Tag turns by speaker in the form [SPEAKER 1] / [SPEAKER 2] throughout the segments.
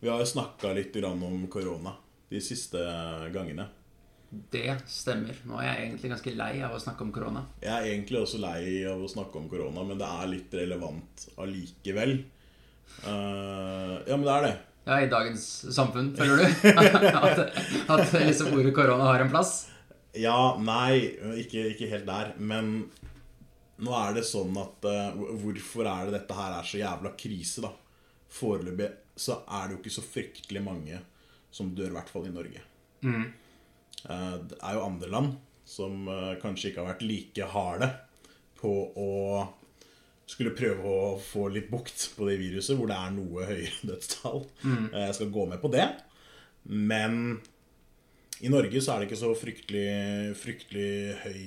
[SPEAKER 1] Vi har jo snakka litt grann om korona de siste gangene.
[SPEAKER 2] Det stemmer. Nå er jeg egentlig ganske lei av å snakke om korona.
[SPEAKER 1] Jeg er egentlig også lei av å snakke om korona, men det er litt relevant allikevel. Eh, ja, men det er det.
[SPEAKER 2] Ja, I dagens samfunn, føler du? at, at liksom ordet korona har en plass?
[SPEAKER 1] Ja, nei, ikke, ikke helt der. Men nå er det sånn at eh, hvor- Hvorfor er det dette her er så jævla krise, da? Foreløpig så er det jo ikke så fryktelig mange som dør, i hvert fall i Norge. Eh, det er jo andre land som eh, kanskje ikke har vært like harde på å skulle prøve å få litt bukt på det viruset, hvor det er noe høyere dødstall. Eh, Jeg skal gå med på det. Men i Norge så er det ikke så fryktelig, fryktelig høy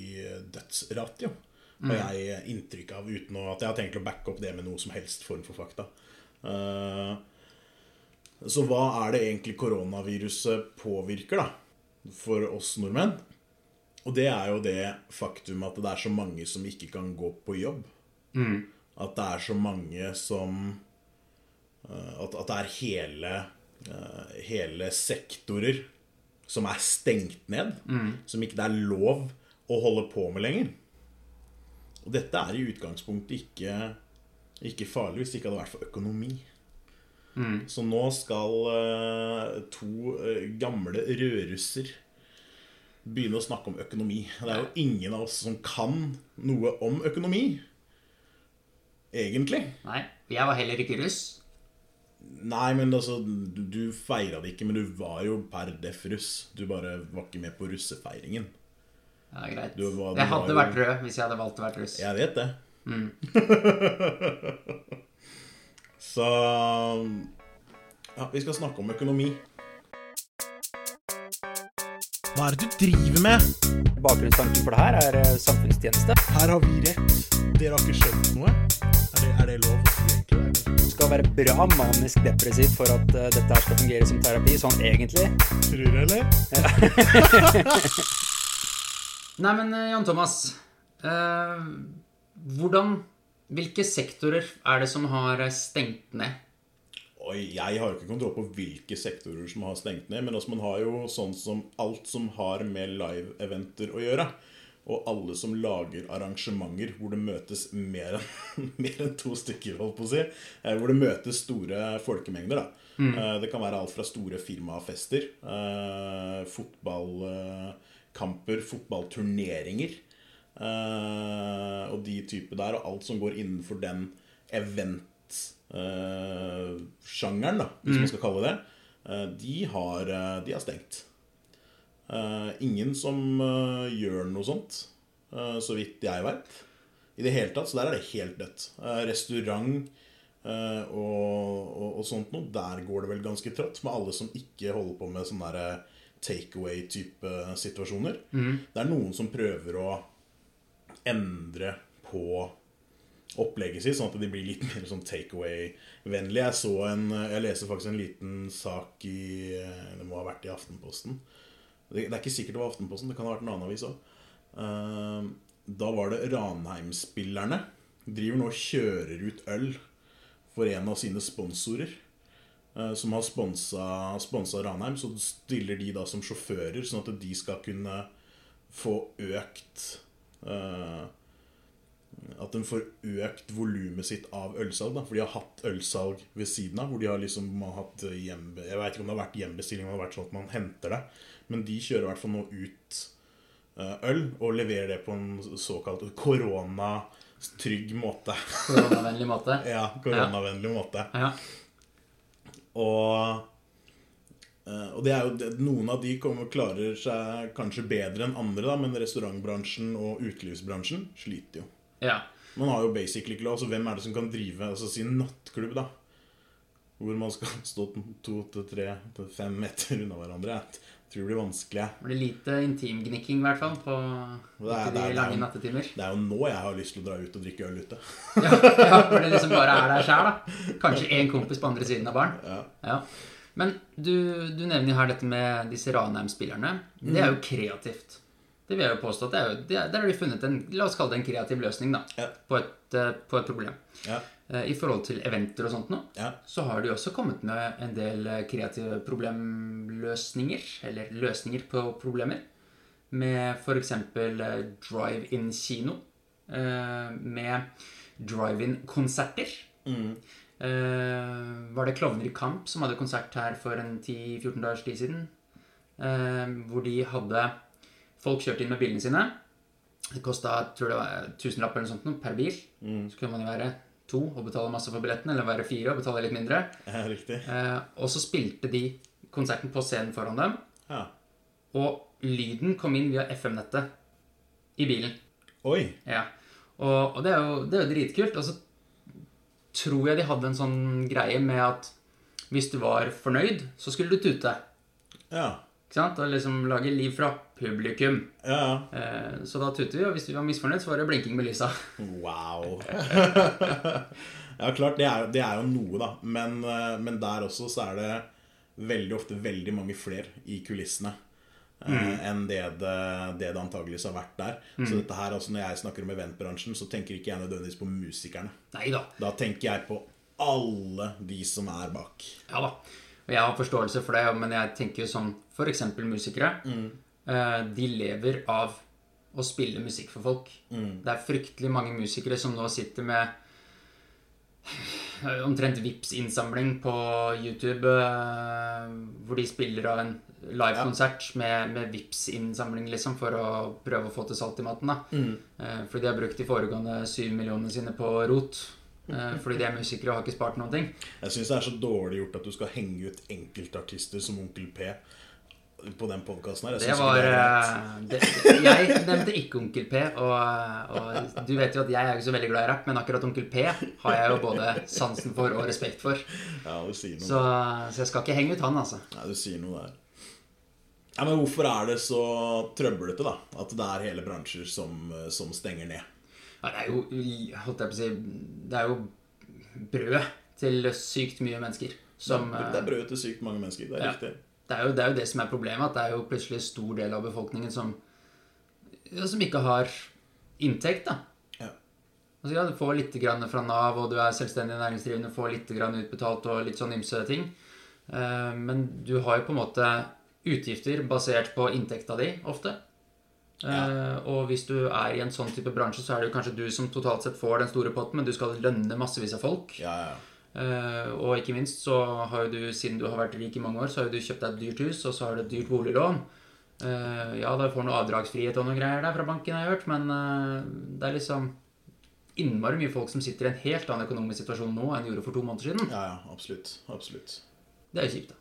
[SPEAKER 1] dødsratio. Har jeg inntrykk av, uten å- at jeg har tenkt å backe opp det med noe som helst form for fakta. Eh, Så hva er det egentlig koronaviruset påvirker, da? For oss nordmenn. Og det er jo det faktum at det er så mange som ikke kan gå på jobb. At det er så mange som eh, At, at det er hele, eh, hele sektorer som er stengt ned, som ikke det er lov å holde på med lenger. Og dette er i utgangspunktet ikke, ikke farlig hvis det ikke hadde vært for økonomi. Så nå skal eh, to eh, gamle rødrusser begynne å snakke om økonomi. Det er jo ingen av oss som kan noe om økonomi, egentlig.
[SPEAKER 2] Nei. Jeg var heller ikke russ.
[SPEAKER 1] Nei, men altså, du, du feira det ikke, men du var jo per def russ. Du bare var ikke med på russefeiringen.
[SPEAKER 2] Ja, greit.
[SPEAKER 1] Du var- du
[SPEAKER 2] jeg
[SPEAKER 1] var
[SPEAKER 2] hadde
[SPEAKER 1] jo-
[SPEAKER 2] vært rød hvis jeg hadde valgt å være russ.
[SPEAKER 1] Jeg vet det. Så ja, vi skal snakke om økonomi. Hva er det du driver med?
[SPEAKER 3] Bakgrunnstanken for det her er eh, samfunnstjeneste.
[SPEAKER 1] Her har vi rett. Dere har ikke skjønt noe? Er det, er det lov? å si egentlig?
[SPEAKER 3] Du skal være bra manisk depressiv for at eh, dette her skal fungere som terapi, sånn egentlig.
[SPEAKER 1] Tror du, eller?
[SPEAKER 2] Nei, men eh, Jan Thomas. Eh, hvordan Hvilke sektorer er det som har eh, stengt ned?
[SPEAKER 1] Oi, jeg har jo ikke kontroll på hvilke sektorer som har stengt ned, men altså, man har jo sånn som alt som har med live-eventer å gjøre. Og alle som lager arrangementer hvor det møtes mer enn, mer enn to stykker, holdt på å si. eh, Hvor det møtes store folkemengder, da. Eh, Det kan være alt fra store firmafester, eh, fotballkamper, fotballturneringer. Eh, og de type der, og alt som går innenfor den event-sjangeren, da, hvis man skal kalle det, eh, de, har, eh, de har stengt. Eh, ingen som eh, gjør noe sånt, eh, så vidt jeg veit. I det hele tatt, så der er det helt dødt. Eh, restaurant eh, og, og, og sånt noe, der går det vel ganske trått med alle som ikke holder på med sånne der eh, takeaway-type eh, situasjoner. Det er noen som prøver å endre på opplegget sitt, sånn at de blir litt mer sånn takeaway-vennlig. Jeg så en, jeg leser faktisk en liten sak i Det må ha vært i Aftenposten. Det, det er ikke sikkert det var Aftenposten, det kan ha vært en annen avis òg. da var det Ranheim-spillerne driver nå og kjører ut øl for en av sine sponsorer. eh, Som har sponsa, sponsa Ranheim. Så stiller de da som sjåfører, sånn at de skal kunne få økt eh, at de får økt volumet sitt av ølsalg. Da. For de har hatt ølsalg ved siden av. Hvor de har liksom man har hatt hjem, Jeg vet ikke om det har vært hjembestilling, om det har vært sånn at man henter det. Men de kjører i hvert fall nå ut eh, øl og leverer det på en såkalt koronatrygg måte.
[SPEAKER 2] Koronavennlig måte.
[SPEAKER 1] ja, koronavennlig måte.
[SPEAKER 2] Ja.
[SPEAKER 1] Og, eh, og det er jo, det- noen av de kommer, klarer seg kanskje bedre enn andre, da, men restaurantbransjen og utelivsbransjen sliter jo.
[SPEAKER 2] ja.
[SPEAKER 1] Man har jo basically ikke lov. Altså, hvem er det som kan drive altså, si en nattklubb, da? Hvor man skal stå to til tre til fem meter unna hverandre. Jeg tror det blir vanskelig. jeg.
[SPEAKER 2] Det blir lite intimgnikking, i hvert fall, på
[SPEAKER 1] Det er-
[SPEAKER 2] de
[SPEAKER 1] det er-
[SPEAKER 2] lange
[SPEAKER 1] det er-
[SPEAKER 2] nattetimer.
[SPEAKER 1] Det er jo nå jeg har lyst til å dra ut og drikke øl ute.
[SPEAKER 2] Ja, hvor det liksom bare er der sjæl, da. Kanskje én kompis på andre siden av baren.
[SPEAKER 1] Ja.
[SPEAKER 2] Ja. Men du, du nevner jo her dette med disse Ranheim-spillerne. Det er jo
[SPEAKER 1] Mm.
[SPEAKER 2] kreativt. Det vil jeg jo påstå. at det er jo, det er, Der har de funnet en la oss kalle det en kreativ løsning da,
[SPEAKER 1] Ja.
[SPEAKER 2] på, et, eh, på et problem.
[SPEAKER 1] Ja.
[SPEAKER 2] eh, i forhold til eventer og sånt nå,
[SPEAKER 1] Ja.
[SPEAKER 2] så har de også kommet med en del eh, kreative problemløsninger, eller løsninger på problemer, med f.eks. drive-in-kino, eh, med drive-in-konserter. Eh, var det Klovner i kamp som hadde konsert her for en 10-14 dagers tid siden? Eh, hvor de hadde Folk kjørte inn med bilene sine. Det kosta tusenlapp eller noe sånt nå, per bil. Så kunne man jo være to og betale masse for billetten, eller være fire og betale litt mindre.
[SPEAKER 1] Ja, Riktig.
[SPEAKER 2] Eh, og så spilte de konserten på scenen foran dem,
[SPEAKER 1] Ja.
[SPEAKER 2] og lyden kom inn via FM-nettet i bilen.
[SPEAKER 1] Oi.
[SPEAKER 2] Ja. Og, og det, er jo, det er jo dritkult. Og så tror jeg de hadde en sånn greie med at hvis du var fornøyd, så skulle du tute.
[SPEAKER 1] Ja.
[SPEAKER 2] Ikke sant? Og liksom lage liv fra publikum.
[SPEAKER 1] Ja, ja.
[SPEAKER 2] Eh, så da tuter vi, og hvis du var misfornøyd, så var det blinking med lysa.
[SPEAKER 1] Wow. ja, klart, det er, jo- det er jo noe, da. Men, eh, men der også så er det veldig ofte veldig mange flere i kulissene
[SPEAKER 2] Mm.
[SPEAKER 1] eh, enn det det, det det antageligvis har vært der. Så dette her, altså når jeg snakker om eventbransjen, så tenker ikke jeg nødvendigvis på musikerne.
[SPEAKER 2] Nei da.
[SPEAKER 1] Da tenker jeg på alle de som er bak.
[SPEAKER 2] Ja da. Og jeg har forståelse for det, men jeg tenker jo sånn f.eks. musikere. Eh, de lever av å spille musikk for folk. Det er fryktelig mange musikere som nå sitter med eh, omtrent vips innsamling på YouTube, eh, hvor de spiller av en livekonsert med, med vips innsamling liksom, for å prøve å få til salt i maten. da. Eh, fordi de har brukt de foregående syv millionene sine på rot. Eh, fordi de er musikere og har ikke spart noen ting.
[SPEAKER 1] Jeg syns det er så dårlig gjort at du skal henge ut enkeltartister som Onkel P på den podkasten her. Jeg
[SPEAKER 2] Det
[SPEAKER 1] synes ikke
[SPEAKER 2] var
[SPEAKER 1] det er greit.
[SPEAKER 2] eh, det, Jeg nevnte ikke Onkel P, og, og du vet jo at jeg er ikke så veldig glad i rapp, men akkurat Onkel P har jeg jo både sansen for og respekt for.
[SPEAKER 1] Ja, du sier noe.
[SPEAKER 2] Så, så jeg skal ikke henge ut han, altså.
[SPEAKER 1] Nei, du sier noe der. Ja, men hvorfor er det så trøblete, da? At det er hele bransjer som, som stenger ned.
[SPEAKER 2] Ja, det er jo holdt jeg på å si, det er jo brød til sykt mye mennesker. Som, eh,
[SPEAKER 1] Det er brød til sykt mange mennesker. Det er
[SPEAKER 2] Ja.
[SPEAKER 1] riktig.
[SPEAKER 2] Det er, jo, det er jo det som er problemet, at det er jo plutselig en stor del av befolkningen som, ja, som ikke har inntekt. da.
[SPEAKER 1] Ja.
[SPEAKER 2] Altså, ja, du får litt grann fra Nav, og du er selvstendig næringsdrivende, får litt grann utbetalt og litt sånn ymse ting. Eh, Men du har jo på en måte utgifter basert på inntekta di, ofte. Eh, Og hvis du er i en sånn type bransje, så er det jo kanskje du som totalt sett får den store potten, men du skal lønne massevis av folk.
[SPEAKER 1] Ja, ja.
[SPEAKER 2] Eh, og ikke minst så har jo du, siden du har vært rik i mange år, så har jo du kjøpt deg et dyrt hus, og så har du et dyrt boliglån. Eh, ja, da får du noe avdragsfrihet og noen greier der fra banken, har jeg hørt, men eh, det er liksom innmari mye folk som sitter i en helt annen økonomisk situasjon nå enn de gjorde for to måneder siden.
[SPEAKER 1] ja, ja absolutt. Absolutt.
[SPEAKER 2] Det er jo kjipt, da.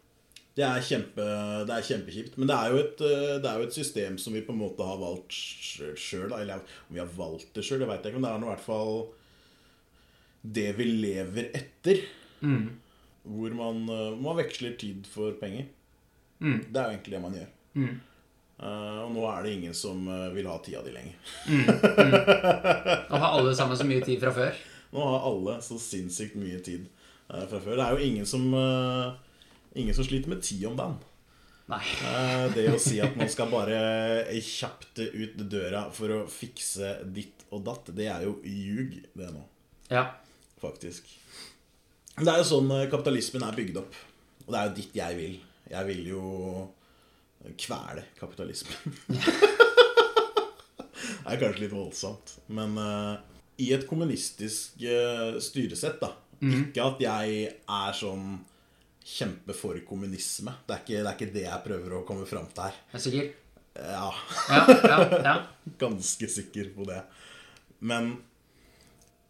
[SPEAKER 1] Det er, kjempe, det er kjempekjipt. Men det er, jo et, eh, det er jo et system som vi på en måte har valgt sjøl. Eller om vi har valgt det sjøl, det veit jeg ikke. Men det er nå i hvert fall det vi lever etter. Hvor man, eh, man veksler tid for penger. Det er jo egentlig det man gjør. Eh, og nå er det ingen som eh, vil ha tida di lenger.
[SPEAKER 2] Nå har alle sammen så mye tid fra før.
[SPEAKER 1] Nå har alle så sinnssykt mye tid eh, fra før. Det er jo ingen som, eh, ingen som sliter med tid om dagen.
[SPEAKER 2] Nei.
[SPEAKER 1] Eh, Det å si at man skal bare kjapt ut døra for å fikse ditt og datt, det er jo ljug, det nå,
[SPEAKER 2] Ja.
[SPEAKER 1] faktisk. Det er jo sånn eh, kapitalismen er bygd opp. Og det er jo dit jeg vil. Jeg vil jo eh, kvele kapitalismen. det er kanskje litt voldsomt, men eh, i et kommunistisk eh, styresett, da Ikke at jeg er sånn kjempe for kommunisme. Det er, ikke, det er ikke det jeg prøver å komme fram til her.
[SPEAKER 2] Jeg er sikker.
[SPEAKER 1] Ja,
[SPEAKER 2] Ja, ja, ja.
[SPEAKER 1] ganske sikker på det. Men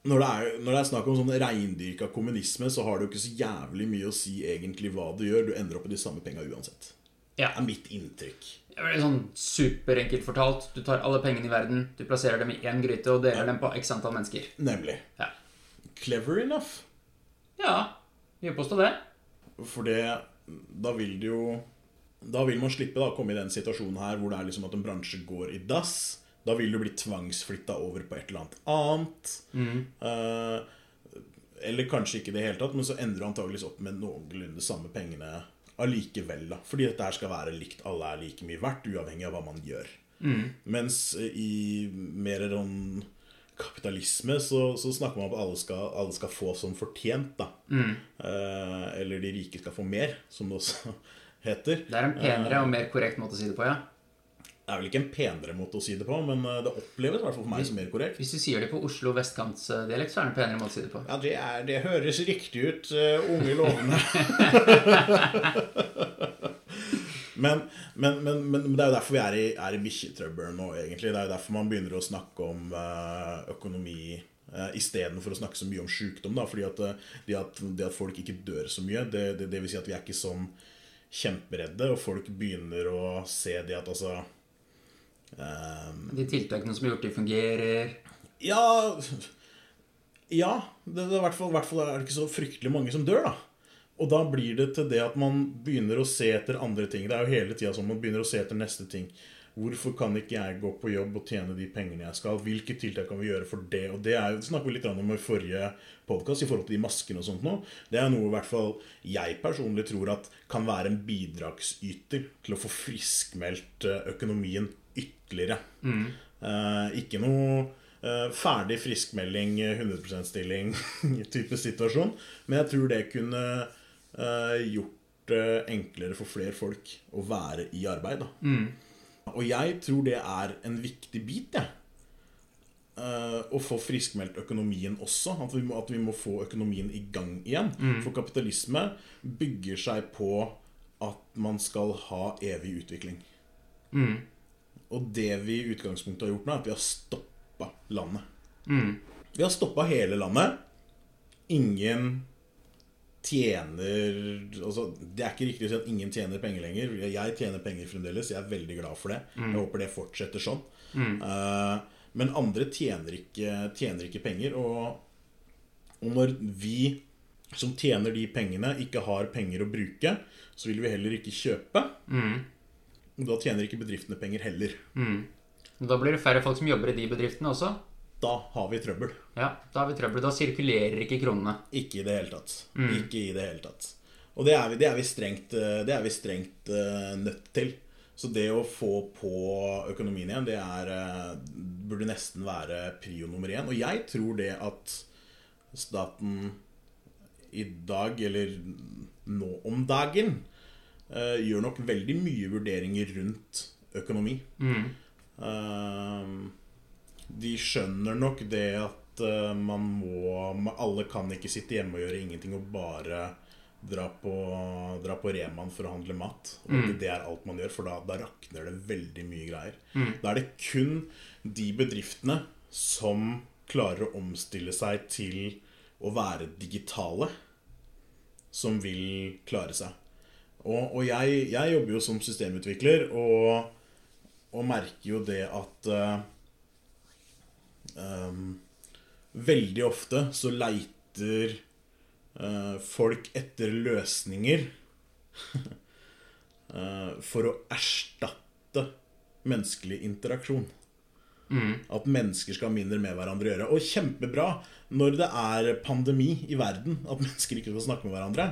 [SPEAKER 1] når det er, når det er snakk om sånn reindyrka kommunisme, så har det jo ikke så jævlig mye å si egentlig hva du gjør. Du ender opp med de samme penga uansett.
[SPEAKER 2] ja.
[SPEAKER 1] Det er mitt inntrykk.
[SPEAKER 2] Det er veldig sånn superenkelt fortalt. Du tar alle pengene i verden, du plasserer dem i én gryte og deler dem på x antall mennesker.
[SPEAKER 1] Nemlig.
[SPEAKER 2] Ja.
[SPEAKER 1] Clever enough.
[SPEAKER 2] Ja, vi vil påstå det.
[SPEAKER 1] For det Da vil det jo Da vil man slippe da å komme i den situasjonen her hvor det er liksom at en bransje går i dass. Da vil du bli tvangsflytta over på et eller annet annet. Eh, eller kanskje ikke i det hele tatt, men så ender du antageligvis opp med noenlunde samme pengene allikevel. da. Fordi dette her skal være likt. Alle er
[SPEAKER 2] Mm.
[SPEAKER 1] like mye verdt, uavhengig av hva man gjør. Mens i mer eh, sånn kapitalisme, så, så snakker man om at alle skal, alle skal få som fortjent. da.
[SPEAKER 2] Mm.
[SPEAKER 1] Eh, eller de rike skal få mer, som det også heter.
[SPEAKER 2] Det er en penere og mer korrekt måte å si det på, ja.
[SPEAKER 1] Det er vel ikke en penere måte å si det på, men eh, det oppleves i hvert fall for meg som mer korrekt.
[SPEAKER 2] Hvis du sier det på Oslo vestkantsdialekt, så er det en penere måte å si det på.
[SPEAKER 1] Ja, det, er, det høres riktig ut, eh, unge lovende. men, men, men, men det er jo derfor vi er i, er i bikkjetrøbbel nå, egentlig. Det er jo derfor man begynner å snakke om eh, økonomi eh, istedenfor å snakke så mye om sjukdom. Da, fordi at eh, det, at det at folk ikke dør så mye, det, det, det vil si at vi er ikke sånn kjemperedde, og folk begynner å se det at altså eh,
[SPEAKER 2] De tiltakene som er gjort, de fungerer.
[SPEAKER 1] ja Ja. Det, det, er i hvert fall, i hvert fall er det ikke så fryktelig mange som dør, da. Og da blir det til det at man begynner å se etter andre ting. Det er jo hele tida sånn man begynner å se etter neste ting. Hvorfor kan ikke jeg gå på jobb og tjene de pengene jeg skal? Hvilke tiltak kan vi gjøre for det? Og det er jo, det snakket vi litt grann om i forrige podkast i forhold til de maskene og sånt nå. Det er noe i hvert fall jeg personlig tror at kan være en bidragsyter til å få friskmeldt eh, økonomien ytterligere. Eh, ikke noe eh, ferdig friskmelding, eh, 100 stilling type situasjon. Men jeg tror det kunne eh, gjort det enklere for flere folk å være i arbeid. Da. Og jeg tror det er en viktig bit, jeg. Eh, å få friskmeldt økonomien også. At vi, må, at vi må få økonomien i gang igjen. For kapitalisme bygger seg på at man skal ha evig utvikling. Og det vi i utgangspunktet har gjort nå, er at vi har stoppa landet. Vi har stoppa hele landet. Ingen tjener altså, Det er ikke riktig å si at ingen tjener penger lenger. Jeg tjener penger fremdeles. Jeg er veldig glad for det. Jeg håper det fortsetter sånn. Eh, men andre tjener ikke, tjener ikke penger. Og, og når vi som tjener de pengene, ikke har penger å bruke, så vil vi heller ikke kjøpe.
[SPEAKER 2] Mm,
[SPEAKER 1] Da tjener ikke bedriftene penger heller.
[SPEAKER 2] Og mm. Da blir det færre folk som jobber i de bedriftene også.
[SPEAKER 1] Da har vi trøbbel.
[SPEAKER 2] Ja, Da har vi trøbbel. Da sirkulerer ikke kronene.
[SPEAKER 1] Ikke i det hele tatt. Ikke i det hele tatt. Og det er vi, det er vi strengt, eh, det er vi strengt eh, nødt til. Så det å få på økonomien igjen, det er, eh, burde nesten være prio nummer én. Og jeg tror det at staten i dag, eller nå om dagen, eh, gjør nok veldig mye vurderinger rundt økonomi.
[SPEAKER 2] Mm.
[SPEAKER 1] Eh, de skjønner nok det at eh, man må Alle kan ikke sitte hjemme og gjøre ingenting og bare dra på, dra på Reman for å handle mat. Og at det er alt man gjør, for da, da rakner det veldig mye greier. Da er det kun de bedriftene som klarer å omstille seg til å være digitale, som vil klare seg. Og, og jeg, jeg jobber jo som systemutvikler og, og merker jo det at eh, Ehm, veldig ofte så leiter eh, folk etter løsninger eh, for å erstatte menneskelig interaksjon. At mennesker skal ha mindre med hverandre å gjøre. Og kjempebra når det er pandemi i verden, at mennesker ikke skal snakke med hverandre.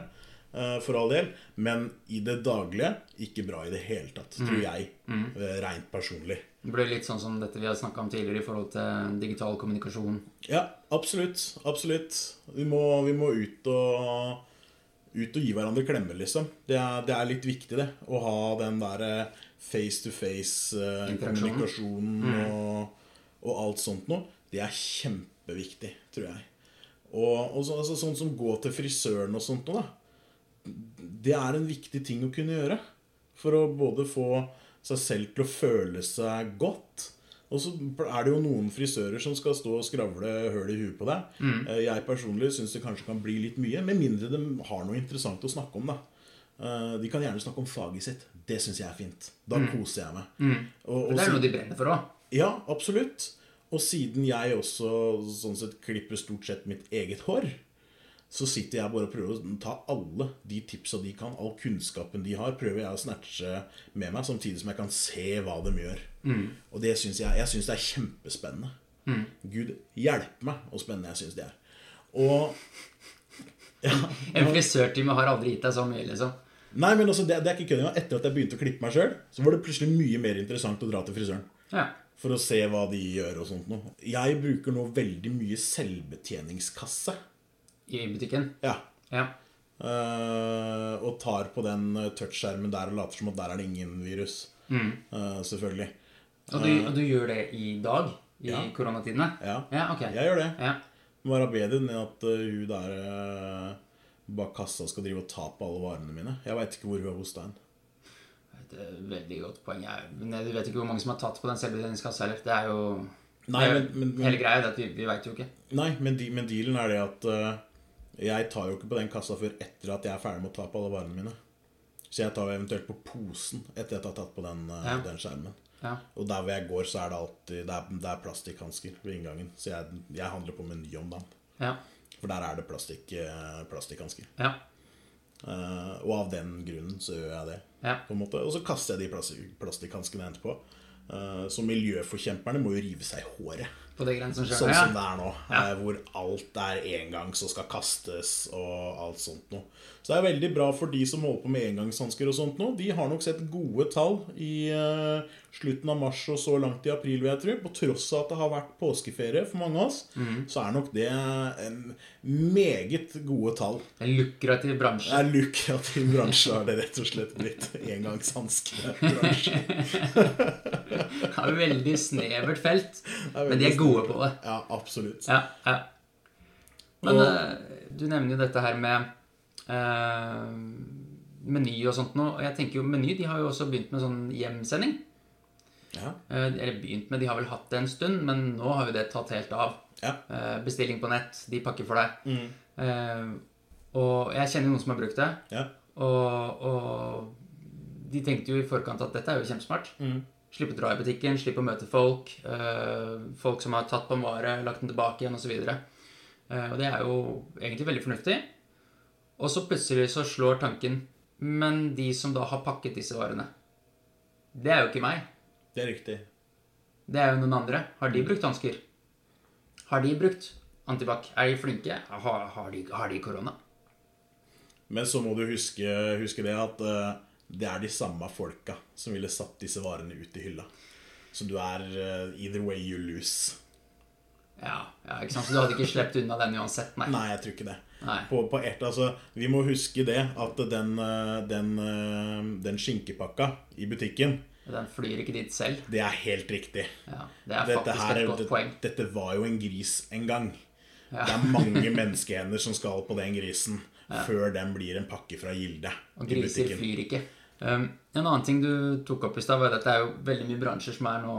[SPEAKER 1] eh, For all del. Men i det daglige ikke bra i det hele tatt, tror jeg. eh, Rent personlig.
[SPEAKER 2] Det blir litt sånn som dette vi har snakka om tidligere i forhold til eh, digital kommunikasjon.
[SPEAKER 1] Ja, absolutt. Absolutt. Vi må, vi må ut og ut og gi hverandre klemmer, liksom. Det er, det er litt viktig, det. Å ha den der eh, face to
[SPEAKER 2] Interaksjonen.
[SPEAKER 1] face-kommunikasjonen og, og alt sånt noe. Det er kjempeviktig, tror jeg. Og, og så, altså, sånn som gå til frisøren og sånt noe, da det er en viktig ting å kunne gjøre. For å både få seg selv til å føle seg godt. Og så er det jo noen frisører som skal stå og skravle høl i huet på deg.
[SPEAKER 2] Mm.
[SPEAKER 1] Eh, Jeg personlig syns det kanskje kan bli litt mye, med mindre de har noe interessant å snakke om. da. Eh, De kan gjerne snakke om faget sitt. Det syns jeg er fint. Da koser jeg meg. Og- og
[SPEAKER 2] Mm. Det er
[SPEAKER 1] så-
[SPEAKER 2] noe de brenner for òg.
[SPEAKER 1] ja, absolutt. Og siden jeg også sånn sett klipper stort sett mitt eget hår, så sitter jeg bare og prøver å ta alle de tipsa de kan, all kunnskapen de har, prøver jeg å snatche med meg, samtidig som jeg kan se hva de gjør. Og det syns jeg, jeg synes det er kjempespennende. Gud hjelpe meg hvor spennende jeg syns det er. Og
[SPEAKER 2] En frisørtime har aldri gitt deg så mye, liksom.
[SPEAKER 1] Nei, men altså, det, det er ikke kødd engang. Etter at jeg begynte å klippe meg sjøl, så var det plutselig mye mer interessant å dra til frisøren.
[SPEAKER 2] Ja.
[SPEAKER 1] For å se hva de gjør og sånt noe. Jeg bruker nå veldig mye selvbetjeningskasse.
[SPEAKER 2] i butikken.
[SPEAKER 1] Ja.
[SPEAKER 2] Ja.
[SPEAKER 1] Eh, og tar på den eh, touchskjermen der og later som at der er det ingen virus. Eh, selvfølgelig.
[SPEAKER 2] Og du, og du gjør det i dag? I
[SPEAKER 1] Ja.
[SPEAKER 2] koronatidene?
[SPEAKER 1] Ja.
[SPEAKER 2] Eh. ja ok.
[SPEAKER 1] Jeg gjør det.
[SPEAKER 2] Ja.
[SPEAKER 1] Det var bedre enn at eh, hun der eh, bak kassa skal drive og ta på alle varene mine. Jeg veit ikke hvor hun er hos deg.
[SPEAKER 2] Det er et eh, veldig godt poeng. Jeg, men jeg vet ikke hvor mange som har tatt på den selvbetjeningskassa heller. Det er jo
[SPEAKER 1] Nei,
[SPEAKER 2] det er jo-
[SPEAKER 1] men- men- men-
[SPEAKER 2] Hele greia er det at vi, vi veit jo ikke.
[SPEAKER 1] Nei, men, de, men dealen er det at eh, jeg tar jo ikke på den kassa før etter at jeg er ferdig med å ta på alle varene mine. Så jeg tar jo eventuelt på posen etter at jeg har tatt på den, eh,
[SPEAKER 2] Ja.
[SPEAKER 1] den skjermen.
[SPEAKER 2] Ja.
[SPEAKER 1] Og der hvor jeg går, så er det alltid Det er, det er plastikkhansker ved inngangen. Så jeg, jeg handler på Meny om dagen.
[SPEAKER 2] Ja.
[SPEAKER 1] For der er det plastikk, eh, plastikkhansker.
[SPEAKER 2] Ja.
[SPEAKER 1] Eh, og av den grunnen så gjør jeg det.
[SPEAKER 2] Ja.
[SPEAKER 1] På en måte. Og så kaster jeg de plastikk, plastikkhanskene jeg henter på. Eh, så miljøforkjemperne må jo rive seg i håret.
[SPEAKER 2] På det grensen sjøl.
[SPEAKER 1] Sånn som det
[SPEAKER 2] ja.
[SPEAKER 1] er nå, eh, hvor alt er engangs og skal kastes og alt sånt noe. Så det er veldig bra for de som holder på med engangshansker og sånt nå. De har nok sett gode tall i eh, slutten av mars og så langt i april, vil jeg tro. På tross av at det har vært påskeferie for mange av oss,
[SPEAKER 2] Mhm.
[SPEAKER 1] så er nok det en meget gode tall.
[SPEAKER 2] Det er En lukrativ bransje.
[SPEAKER 1] Det er lukrativ bransje, har det rett og slett blitt. Engangshanskebransje.
[SPEAKER 2] Det er et veldig snevert felt.
[SPEAKER 1] er
[SPEAKER 2] Men de
[SPEAKER 1] veldig
[SPEAKER 2] er gode på det.
[SPEAKER 1] Ja, absolutt.
[SPEAKER 2] Ja, ja. Men
[SPEAKER 1] Og-
[SPEAKER 2] eh, du nevner jo dette her med eh, Meny og sånt nå. Og jeg tenker jo Meny de har jo også begynt med sånn hjemsending.
[SPEAKER 1] Ja,
[SPEAKER 2] Eh, Eller begynt med, de har vel hatt det en stund, men nå har jo det tatt helt av.
[SPEAKER 1] ja.
[SPEAKER 2] Eh, Bestilling på nett, de pakker for deg. Eh, Og jeg kjenner noen som har brukt det,
[SPEAKER 1] ja.
[SPEAKER 2] og, og de tenkte jo i forkant at dette er jo kjempesmart. Slippe å dra i butikken, slippe å møte folk, eh, folk som har tatt på en vare, lagt den tilbake igjen osv. Eh, Og det er jo egentlig veldig fornuftig. Og så plutselig så slår tanken Men de som da har pakket disse varene, det er jo ikke meg.
[SPEAKER 1] Det er riktig.
[SPEAKER 2] Det er jo noen andre. Har
[SPEAKER 1] Mm.
[SPEAKER 2] de brukt hansker? Har de brukt antibac? Er de flinke? Har, har, de, har de korona?
[SPEAKER 1] Men så må du huske, huske det at eh, det er de samme folka som ville satt disse varene ut i hylla. Så du er eh, either way you lose.
[SPEAKER 2] Ja, ja, ikke sant? Så du hadde ikke sluppet unna den uansett, nei.
[SPEAKER 1] Nei, jeg tror ikke det.
[SPEAKER 2] Nei.
[SPEAKER 1] På, på ert, altså, vi må huske det at den, eh, den, eh, den skinkepakka i butikken,
[SPEAKER 2] Den flyr ikke dit selv.
[SPEAKER 1] det er helt riktig.
[SPEAKER 2] Ja, det er
[SPEAKER 1] Dette,
[SPEAKER 2] faktisk
[SPEAKER 1] her,
[SPEAKER 2] et godt
[SPEAKER 1] det-
[SPEAKER 2] poeng.
[SPEAKER 1] dette var jo en gris en gang. Det er mange menneskehender som skal på den grisen før den blir en pakke fra Gilde
[SPEAKER 2] Og
[SPEAKER 1] i
[SPEAKER 2] griser
[SPEAKER 1] butikken.
[SPEAKER 2] flyr ikke. Um, en annen ting du tok opp i stad, var at det er jo veldig mye bransjer som er nå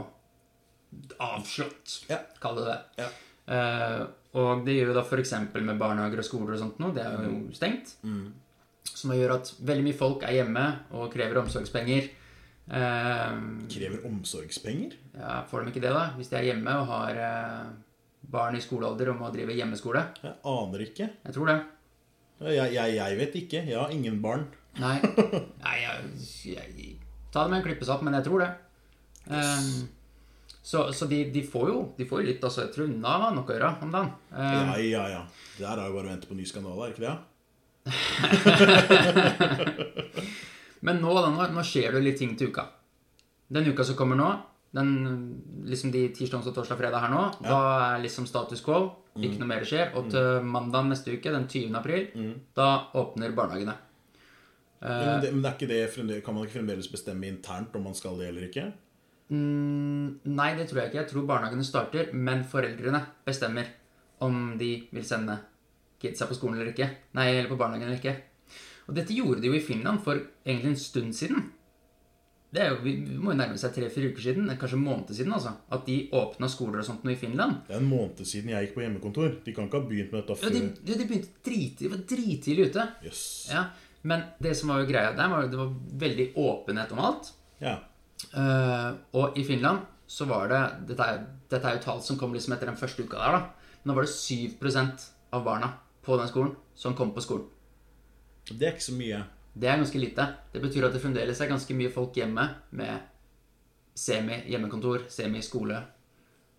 [SPEAKER 2] avslått,
[SPEAKER 1] Ja.
[SPEAKER 2] kall det det.
[SPEAKER 1] Ja.
[SPEAKER 2] Eh, og det gjør jo da f.eks. med barnehager og skoler og sånt noe, det er jo
[SPEAKER 1] Mm.
[SPEAKER 2] stengt. Som gjør at veldig mye folk er hjemme og krever omsorgspenger. Eh,
[SPEAKER 1] Krever omsorgspenger?
[SPEAKER 2] ja, får de ikke det, da? Hvis de er hjemme og har eh, barn i skolealder og må drive hjemmeskole?
[SPEAKER 1] Jeg aner ikke.
[SPEAKER 2] Jeg tror det.
[SPEAKER 1] Jeg, jeg, jeg vet ikke. Jeg har ingen barn.
[SPEAKER 2] Nei, Nei jeg, jeg, ta det med en klypesatt, men jeg tror det. Eh, så så de, de får jo de får jo litt altså, Jeg tror Nav har nok å gjøre om dagen. Eh,
[SPEAKER 1] Ja, ja, ja. Det her er jo bare å vente på ny skandale, er ikke det?
[SPEAKER 2] Men nå, da, nå, nå skjer det litt ting til uka. Den uka som kommer nå, den, liksom de tirsdag, onsdag, torsdag, fredag her nå, da er liksom status quo. Ikke noe mer skjer. Og til mandag neste uke, den 20. april, da åpner barnehagene. Eh.
[SPEAKER 1] Ja, Men, det, men det er ikke det fremdeles, kan man ikke fremdeles bestemme internt om man skal det eller ikke?
[SPEAKER 2] Mm, Nei, det tror jeg ikke. Jeg tror barnehagene starter, men foreldrene bestemmer om de vil sende kidsa på skolen eller ikke. Nei, eller på barnehagen eller ikke. Og dette gjorde de jo i Finland for egentlig en stund siden. Det er jo, vi vi må jo nærme seg tre-fire uker siden, kanskje en måned siden, altså. At de åpna skoler og sånt noe i Finland.
[SPEAKER 1] Det er en måned siden jeg gikk på hjemmekontor. De kan ikke ha begynt med dette
[SPEAKER 2] Ja,
[SPEAKER 1] før
[SPEAKER 2] de, ja, de begynte drit, de var drittidlig ute.
[SPEAKER 1] Jøss.
[SPEAKER 2] Ja, Men det som var jo greia der, var jo det var veldig åpenhet om alt.
[SPEAKER 1] Ja.
[SPEAKER 2] Eh, og i Finland så var det Dette er, dette er jo tall som kom liksom etter den første uka der, da. Men da var det 7 av barna på den skolen som kom på skolen.
[SPEAKER 1] Det er ikke så mye.
[SPEAKER 2] Det er ganske lite. Det betyr at det fremdeles er ganske mye folk hjemme med semi-hjemmekontor, semi-skole,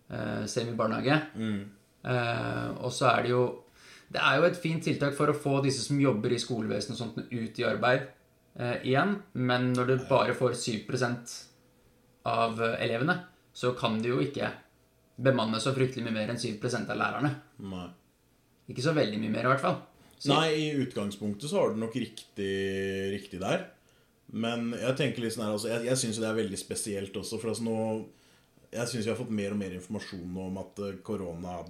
[SPEAKER 2] eh, semi-barnehage. Eh, og så er det jo Det er jo et fint tiltak for å få disse som jobber i skolevesenet og sånt, ut i arbeid eh, igjen. Men når du bare får 7 av eh, elevene, så kan du jo ikke bemanne så fryktelig mye mer enn 7 av lærerne.
[SPEAKER 1] Nei.
[SPEAKER 2] Ikke så veldig mye mer, i hvert fall. Så,
[SPEAKER 1] Nei, i utgangspunktet så har du nok riktig, riktig der. Men jeg tenker litt sånn her, altså, jeg, jeg syns jo det er veldig spesielt også, for altså nå Jeg syns vi har fått mer og mer informasjon nå om at eh, korona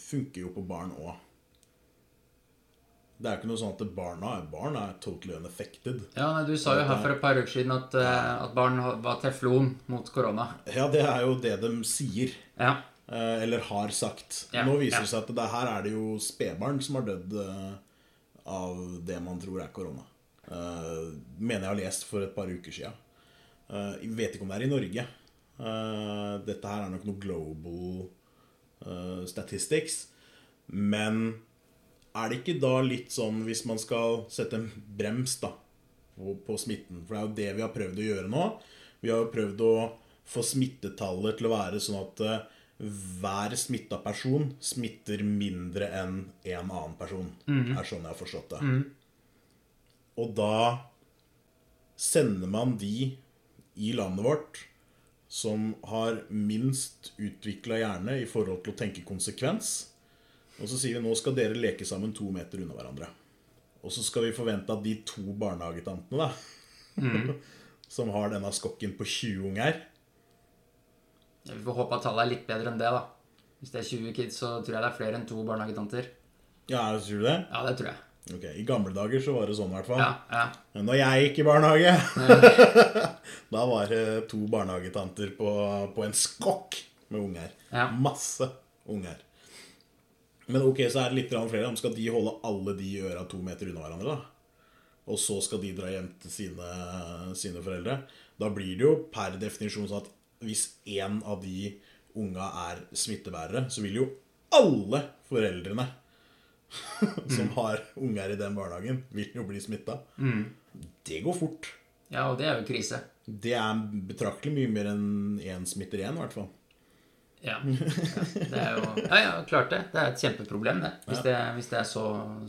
[SPEAKER 1] funker jo på barn òg. Det er jo ikke noe sånn at barna er barn, er totally unaffected.
[SPEAKER 2] Ja, nei, Du sa jo her for et par uker siden at, eh, at barn ha- var teflon mot korona.
[SPEAKER 1] Ja, det er jo det de sier.
[SPEAKER 2] Ja,
[SPEAKER 1] eh, Eller har sagt.
[SPEAKER 2] Ja,
[SPEAKER 1] Nå viser
[SPEAKER 2] ja.
[SPEAKER 1] det seg at det her er det jo spedbarn som har dødd eh, av det man tror er korona. Eh, Mener jeg har lest for et par uker siden. Eh, Jeg vet ikke om det er i Norge. Eh, Dette her er nok noe global eh, statistics. Men er det ikke da litt sånn hvis man skal sette en brems da på, på smitten? For det er jo det vi har prøvd å gjøre nå. Vi har jo prøvd å få smittetallet til å være sånn at eh, hver smitta person smitter mindre enn en annen person. Er sånn jeg har forstått det. Og da sender man de i landet vårt som har minst utvikla hjerne i forhold til å tenke konsekvens. Og så sier vi nå skal dere leke sammen to meter unna hverandre. Og så skal vi forvente at de to barnehagetantene, da, som har denne skokken på 20 unger
[SPEAKER 2] Vi får håpe at tallet er litt bedre enn det, da. Hvis det er 20 kids, så tror jeg det er flere enn to barnehagetanter.
[SPEAKER 1] Ja, sier du det?
[SPEAKER 2] Ja, det tror jeg.
[SPEAKER 1] Ok, I gamle dager så var det sånn, i hvert fall.
[SPEAKER 2] Ja, ja.
[SPEAKER 1] Men når jeg gikk i barnehage, da var det to barnehagetanter på, på en skokk med unger.
[SPEAKER 2] Ja.
[SPEAKER 1] Masse unger. Men ok, så er det litt grann flere. Men Skal de holde alle de i øra to meter unna hverandre, da? Og så skal de dra hjem til sine, sine foreldre? Da blir det jo per definisjon sånn at hvis én av de unga er smittebærere, så vil jo alle foreldrene som har unger i den barnehagen, vil jo bli smitta. Det går fort.
[SPEAKER 2] ja, og det er jo krise.
[SPEAKER 1] Det er betraktelig mye mer enn én smitter igjen, i hvert fall.
[SPEAKER 2] Ja. ja. Det er jo Ja, ja, klart det. Det er et kjempeproblem, det. Hvis det, hvis det er så,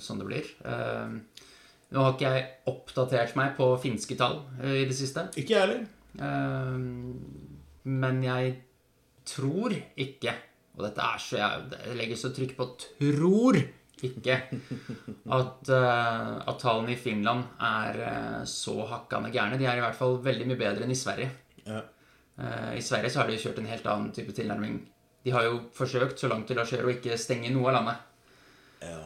[SPEAKER 2] sånn det blir. Eh, nå har ikke jeg oppdatert meg på finske tall eh, i det siste.
[SPEAKER 1] Ikke jeg heller.
[SPEAKER 2] Eh, men jeg tror ikke Og dette er så Jeg jeg legger så trykk på 'tror ikke' at, eh, at tallene i Finland er eh, så hakkande gærne. De er i hvert fall veldig mye bedre enn i Sverige.
[SPEAKER 1] Ja.
[SPEAKER 2] Eh, I Sverige så har de kjørt en helt annen type tilnærming. De har jo forsøkt så langt det lar seg gjøre å ikke stenge noe av landet.
[SPEAKER 1] Ja.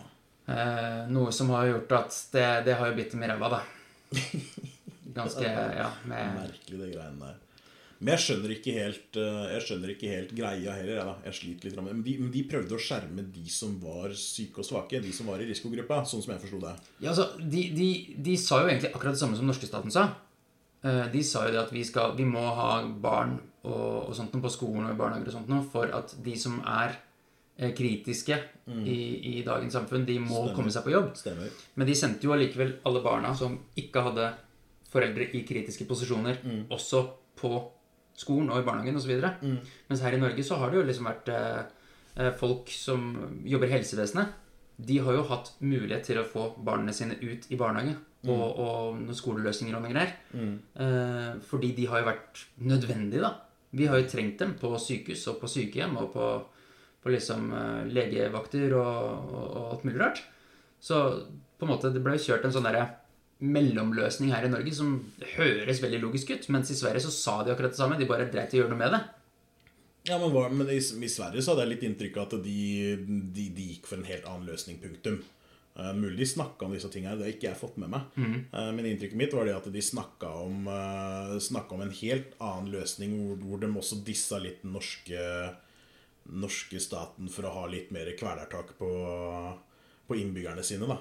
[SPEAKER 2] Eh, noe som har gjort at det, det har jo bitt dem i ræva, da. Ganske Ja. Med,
[SPEAKER 1] Merkelig, det greiene der. Men jeg skjønner ikke helt, eh, jeg skjønner ikke helt greia heller. Jeg, da. jeg sliter litt med det. Men de, men de prøvde å skjerme de som var syke og svake, de som var i risikogruppa, sånn som jeg forsto det.
[SPEAKER 2] ja, altså, de, de, de sa jo egentlig akkurat det samme som norske staten sa. Eh, de sa jo det at vi, skal, vi må ha barn og, og sånt noe på skolen og i barnehager og sånt noe for at de som er eh, kritiske i, i dagens samfunn, de må komme seg på jobb.
[SPEAKER 1] Stemmer.
[SPEAKER 2] Men de sendte jo allikevel alle barna som ikke hadde foreldre i kritiske posisjoner, også på skolen og i barnehagen osv. videre. Mens her i Norge så har det jo liksom vært eh, eh, folk som jobber i helsevesenet. De har jo hatt mulighet til å få barna sine ut i barnehage. Og, og noen skoleløsninger og noen greier. Eh, fordi de har jo vært nødvendige, da. Vi har jo trengt dem på sykehus og på sykehjem og på, på liksom eh, legevakter og, og, og alt mulig rart. Så på en måte, det ble kjørt en sånn derre mellomløsning her i Norge som høres veldig logisk ut, mens i Sverige så sa de akkurat det samme. De bare dreit i å gjøre noe med det.
[SPEAKER 1] Ja, men, hva, men i, i Sverige så hadde jeg litt inntrykk av at de, de, de gikk for en helt annen løsning, punktum. Eh, mulig de snakka om disse tingene, det har ikke jeg fått med meg. Eh, men inntrykket mitt var det at de snakka om, eh, snakket om en helt annen løsning, hvor, hvor de også dissa litt den norske, norske staten for å ha litt mer kvelertak på, på innbyggerne sine. Da.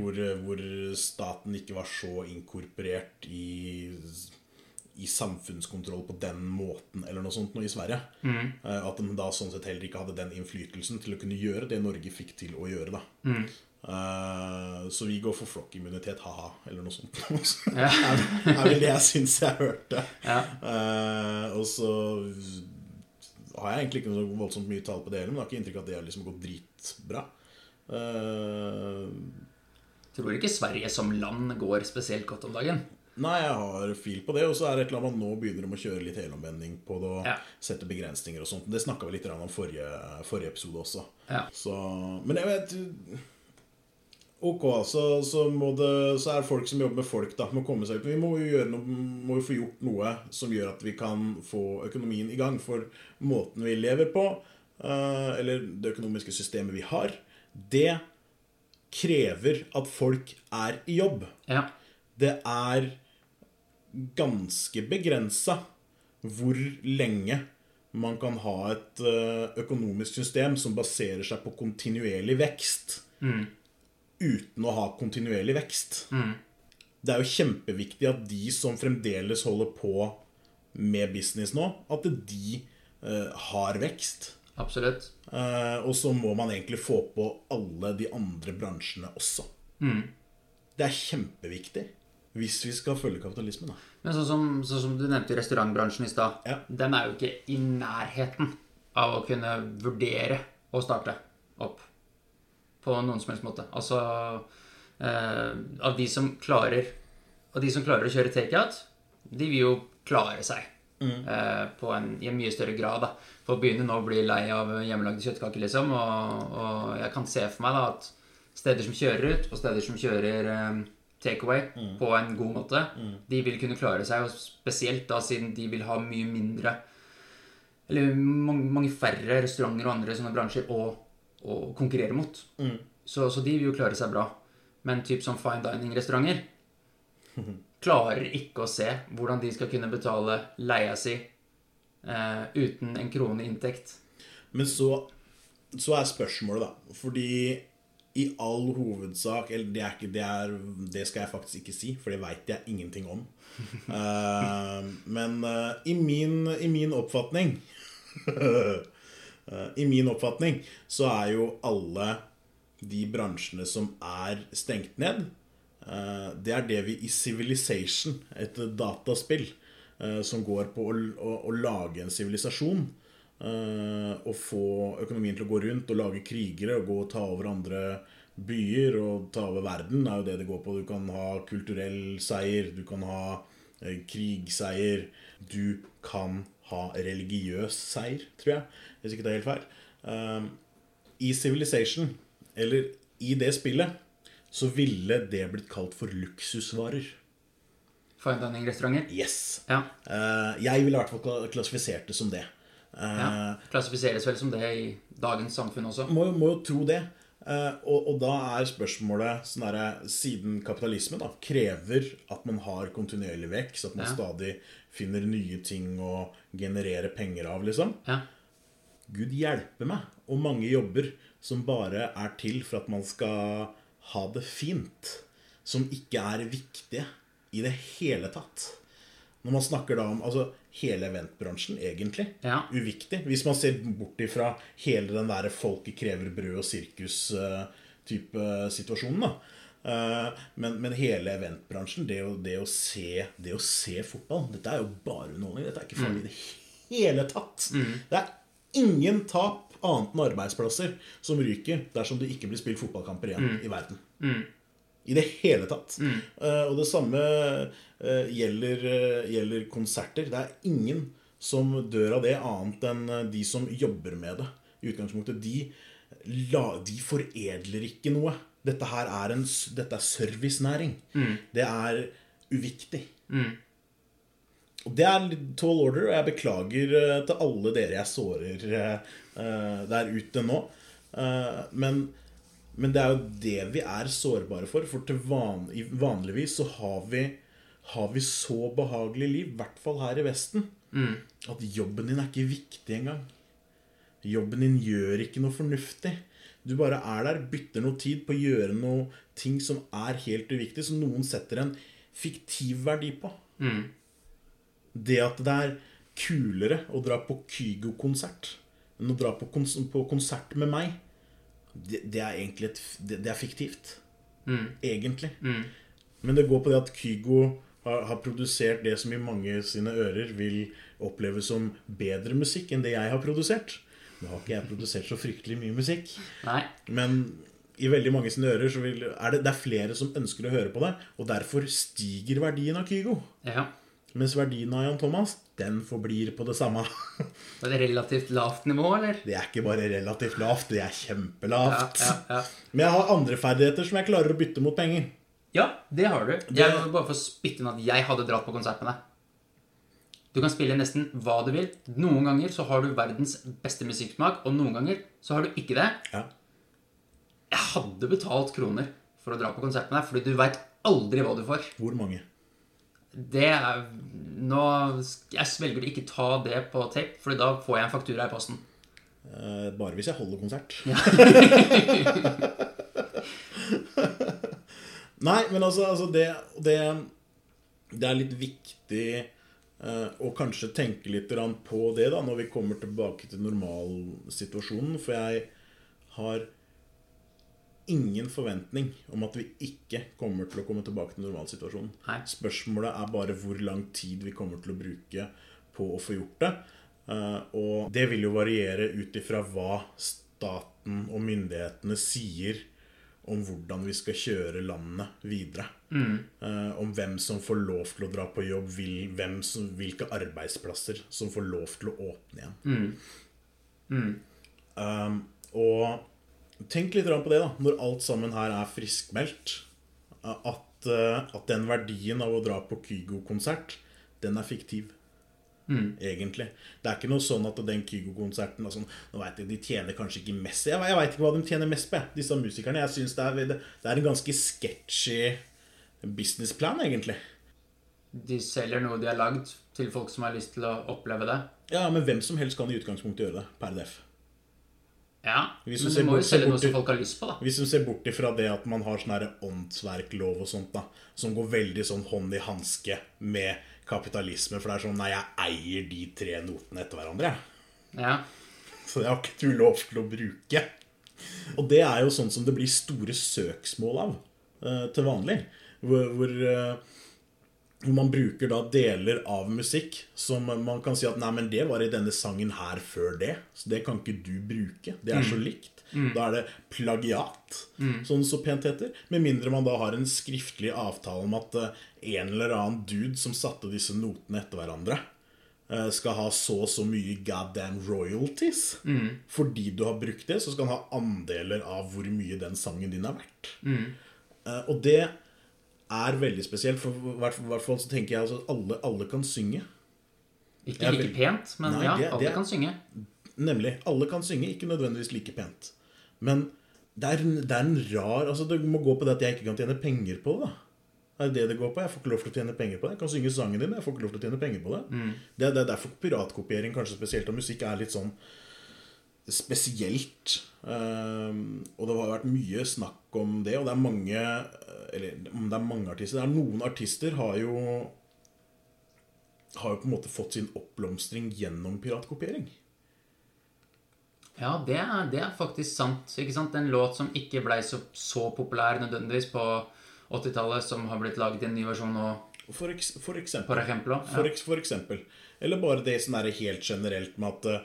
[SPEAKER 1] Hvor, hvor staten ikke var så inkorporert i i samfunnskontroll på den måten, eller noe sånt, noe i Sverige. Eh, At de da sånn sett heller ikke hadde den innflytelsen til å kunne gjøre det Norge fikk til å gjøre, da. Eh, så vi går for flokkimmunitet, ha-ha, eller noe sånt. Det er er vel det jeg syns jeg hørte. Eh, og så har jeg egentlig ikke noe så voldsomt mye tall på det heller, men jeg har ikke inntrykk av at det har liksom gått dritbra. Eh,
[SPEAKER 2] Tror ikke Sverige som land går spesielt godt om dagen.
[SPEAKER 1] Nei, jeg har fil på det. Og så er det et eller annet man nå begynner de å kjøre litt helomvending på det og
[SPEAKER 2] Ja.
[SPEAKER 1] sette begrensninger og sånt. Det snakka vi litt grann om forrige, forrige episode også.
[SPEAKER 2] Ja.
[SPEAKER 1] Så, men jeg vet Ok, så, så, må det, så er det folk som jobber med folk, da. Må komme seg ut. Men vi må jo gjøre noe, må jo få gjort noe som gjør at vi kan få økonomien i gang. For måten vi lever på, eh, eller det økonomiske systemet vi har, det krever at folk er i jobb
[SPEAKER 2] Ja.
[SPEAKER 1] det er ganske begrensa hvor lenge man kan ha et eh, økonomisk system som baserer seg på kontinuerlig vekst uten å ha kontinuerlig vekst. Det er jo kjempeviktig at de som fremdeles holder på med business nå, at de eh, har vekst.
[SPEAKER 2] Absolutt.
[SPEAKER 1] Eh, og så må man egentlig få på alle de andre bransjene også. Det er kjempeviktig hvis vi skal følge kapitalismen. Da.
[SPEAKER 2] Men sånn som, sånn som du nevnte restaurantbransjen i stad,
[SPEAKER 1] Ja.
[SPEAKER 2] den er jo ikke i nærheten av å kunne vurdere å starte opp på noen som helst måte. Altså eh, av de som klarer Og de som klarer å kjøre takeout, de vil jo klare seg eh, på en, i en mye større grad. da. For å begynne nå å bli lei av hjemmelagde kjøttkaker, liksom. Og, og jeg kan se for meg da at steder som kjører ut, og steder som kjører eh, takeaway på en god måte, de vil kunne klare seg. Og spesielt da siden de vil ha mye mindre eller mange, mange færre restauranter og andre sånne bransjer å, å konkurrere mot. Så, så de vil jo klare seg bra. Men typ som fine dining-restauranter klarer ikke å se hvordan de skal kunne betale leia si eh, uten en krone i inntekt.
[SPEAKER 1] Men så, så er spørsmålet, da Fordi i all hovedsak Eller det, er ikke, det, er, det skal jeg faktisk ikke si, for det veit jeg ingenting om. Eh, men eh, i, min, i min oppfatning Eh, I min oppfatning så er jo alle de bransjene som er stengt ned, eh, det er det vi i Civilization, et dataspill, eh, som går på å, å, å lage en sivilisasjon. eh, Og få økonomien til å gå rundt og lage krigere og gå og ta over andre byer og ta over verden, er jo det det går på. Du kan ha kulturell seier, du kan ha eh, krigseier. Du kan ha religiøs seier, tror jeg, hvis ikke det er helt feil. Ehm, I Civilization, eller i det spillet, så ville det blitt kalt for luksusvarer.
[SPEAKER 2] Fine dining-restauranter.
[SPEAKER 1] Yes.
[SPEAKER 2] Ja.
[SPEAKER 1] Eh, jeg ville i hvert fall kla- klassifisert det som det. Eh, Mm.
[SPEAKER 2] ja. Klassifiseres vel som det i dagens samfunn også.
[SPEAKER 1] må, må jo tro det. Eh, og, og da er spørsmålet sånn derre, Siden kapitalismen da, krever at man har kontinuerlig vekst, at man
[SPEAKER 2] Ja.
[SPEAKER 1] stadig finner nye ting å generere penger av, liksom.
[SPEAKER 2] Ja.
[SPEAKER 1] Gud hjelpe meg, og mange jobber som bare er til for at man skal ha det fint, som ikke er viktige i det hele tatt. Når man snakker da om altså, hele eventbransjen, egentlig.
[SPEAKER 2] Ja.
[SPEAKER 1] Uviktig. Hvis man ser bort ifra hele den der 'folket krever brød og sirkus'-type situasjonen, da. Eh, Men, men hele eventbransjen, det å, det, å se, det å se fotball Dette er jo bare underholdning. Dette er ikke farlig i det hele tatt. Det er ingen tap annet enn arbeidsplasser som ryker dersom det ikke blir spilt fotballkamper igjen i verden. I det hele tatt. Eh, og det samme eh, gjelder, eh, gjelder konserter. Det er ingen som dør av det, annet enn eh, de som jobber med det. I utgangspunktet, de, la, de foredler ikke noe. Dette her er, en, s- dette er servicenæring. Det er uviktig. Og det er litt tall order, og jeg beklager eh, til alle dere jeg sårer eh, eh, der ute nå. Eh, men, men det er jo det vi er sårbare for, for til van, i- vanligvis så har vi, har vi så behagelig liv, i hvert fall her i Vesten, at jobben din er ikke viktig engang. Jobben din gjør ikke noe fornuftig. Du bare er der, bytter noe tid på å gjøre noe ting som er helt uviktig, som noen setter en fiktiv verdi på. Det at det er kulere å dra på Kygo-konsert enn å dra på, kons på konsert med meg, det, det er egentlig et, f- det, det er fiktivt. Egentlig. Men det går på det at Kygo har, har produsert det som i mange sine ører vil oppleves som bedre musikk enn det jeg har produsert. Nå har ikke jeg produsert så fryktelig mye musikk,
[SPEAKER 2] Nei.
[SPEAKER 1] men i veldig mange sine ører så vil, er det, det er flere som ønsker å høre på deg, og derfor stiger verdien av Kygo.
[SPEAKER 2] Ja.
[SPEAKER 1] Mens verdien av Jan Thomas, den forblir på det samme.
[SPEAKER 2] Det er et relativt lavt nivå, eller?
[SPEAKER 1] Det er ikke bare relativt lavt, det er kjempelavt.
[SPEAKER 2] Ja, ja, ja.
[SPEAKER 1] Men jeg har andre ferdigheter som jeg klarer å bytte mot penger.
[SPEAKER 2] Ja, det har du. Jeg må bare få spytte inn at jeg hadde dratt på konsert med deg. Du kan spille nesten hva du vil. Noen ganger så har du verdens beste musikksmak, og noen ganger så har du ikke det.
[SPEAKER 1] Ja.
[SPEAKER 2] Jeg hadde betalt kroner for å dra på konsert med deg, fordi du veit aldri hva du får.
[SPEAKER 1] Hvor mange?
[SPEAKER 2] Det er Nå sk- Jeg velger å ikke ta det på tape, Fordi da får jeg en faktura i posten.
[SPEAKER 1] Eh, bare hvis jeg holder konsert. Nei, men altså, altså det, det Det er litt viktig eh, å kanskje tenke litt grann på det da når vi kommer tilbake til normalsituasjonen, for jeg har ingen forventning om at vi ikke kommer til å komme tilbake til normalsituasjonen.
[SPEAKER 2] Nei.
[SPEAKER 1] Spørsmålet er bare hvor lang tid vi kommer til å bruke på å få gjort det. Eh, Og det vil jo variere ut ifra hva staten og myndighetene sier om hvordan vi skal kjøre landet videre. Eh, Om hvem som får lov til å dra på jobb, vil- hvem som, hvilke arbeidsplasser som får lov til å åpne igjen. Um, og tenk litt grann på det, da, når alt sammen her er friskmeldt. At, eh, at den verdien av å dra på Kygo-konsert, den er fiktiv. Egentlig. Det er ikke noe sånn at den Kygo-konserten altså, Nå vet jeg, De tjener kanskje ikke mest Jeg, jeg veit ikke hva de tjener mest på, jeg, disse musikerne. Jeg synes det, er, det er en ganske sketchy businessplan, egentlig.
[SPEAKER 2] De selger noe de har lagd til folk som har lyst til å oppleve det.
[SPEAKER 1] Ja, Men hvem som helst kan i utgangspunktet gjøre det, per def.
[SPEAKER 2] Ja,
[SPEAKER 1] Hvis du
[SPEAKER 2] men
[SPEAKER 1] ser
[SPEAKER 2] du må
[SPEAKER 1] bort-
[SPEAKER 2] jo selge noe
[SPEAKER 1] bort til-
[SPEAKER 2] som folk har lyst på, da.
[SPEAKER 1] Hvis du ser bort ifra det at man har sånn her åndsverklov og sånt, da, som går veldig sånn hånd i hanske med kapitalisme, for det er sånn Nei, jeg eier de tre notene etter hverandre, jeg.
[SPEAKER 2] Ja.
[SPEAKER 1] Så det har ikke du lov til å bruke. Og det er jo sånn som det blir store søksmål av eh, til vanlig. Hvor, hvor, eh, hvor man bruker da deler av musikk som man kan si at Nei, men det var i denne sangen her før det, så det kan ikke du bruke. Det er så likt. Da er det plagiat, sånn som det så pent heter. Med mindre man da har en skriftlig avtale om at eh, en eller annen dude som satte disse notene etter hverandre, eh, skal ha så og så mye goddamn royalties. Fordi du har brukt det, så skal han ha andeler av hvor mye den sangen din er verdt. Eh, Og det er veldig spesielt, for i hvert fall- i hvert fall så tenker jeg altså at alle, alle kan synge.
[SPEAKER 2] Ikke
[SPEAKER 1] Jeg
[SPEAKER 2] like
[SPEAKER 1] vil-
[SPEAKER 2] pent, men
[SPEAKER 1] Nei,
[SPEAKER 2] ja,
[SPEAKER 1] det-
[SPEAKER 2] alle
[SPEAKER 1] det-
[SPEAKER 2] kan synge.
[SPEAKER 1] Nemlig. Alle kan synge, ikke nødvendigvis like pent. Men det er, en- det er en rar Altså, det må gå på det at jeg ikke kan tjene penger på det, da. Det er det det går på. Jeg får ikke lov til å tjene penger på det. Jeg kan synge sangen din, men jeg får ikke lov til å tjene penger på det. Det, det er derfor piratkopiering, kanskje spesielt av musikk, er litt sånn spesielt. Ehm, og det har vært mye snakk om det, og det er mange Eller om det er mange artister det er Noen artister har jo Har jo på en måte fått sin oppblomstring gjennom piratkopiering.
[SPEAKER 2] Ja, det er, det er faktisk sant. ikke sant? En låt som ikke blei så, så populær nødvendigvis på 80-tallet, som har blitt laget i en ny versjon nå,
[SPEAKER 1] For, eks for eksempel.
[SPEAKER 2] for eksempel.
[SPEAKER 1] For,
[SPEAKER 2] Ja.
[SPEAKER 1] eks for eksempel. Eller bare det sånn der helt generelt med at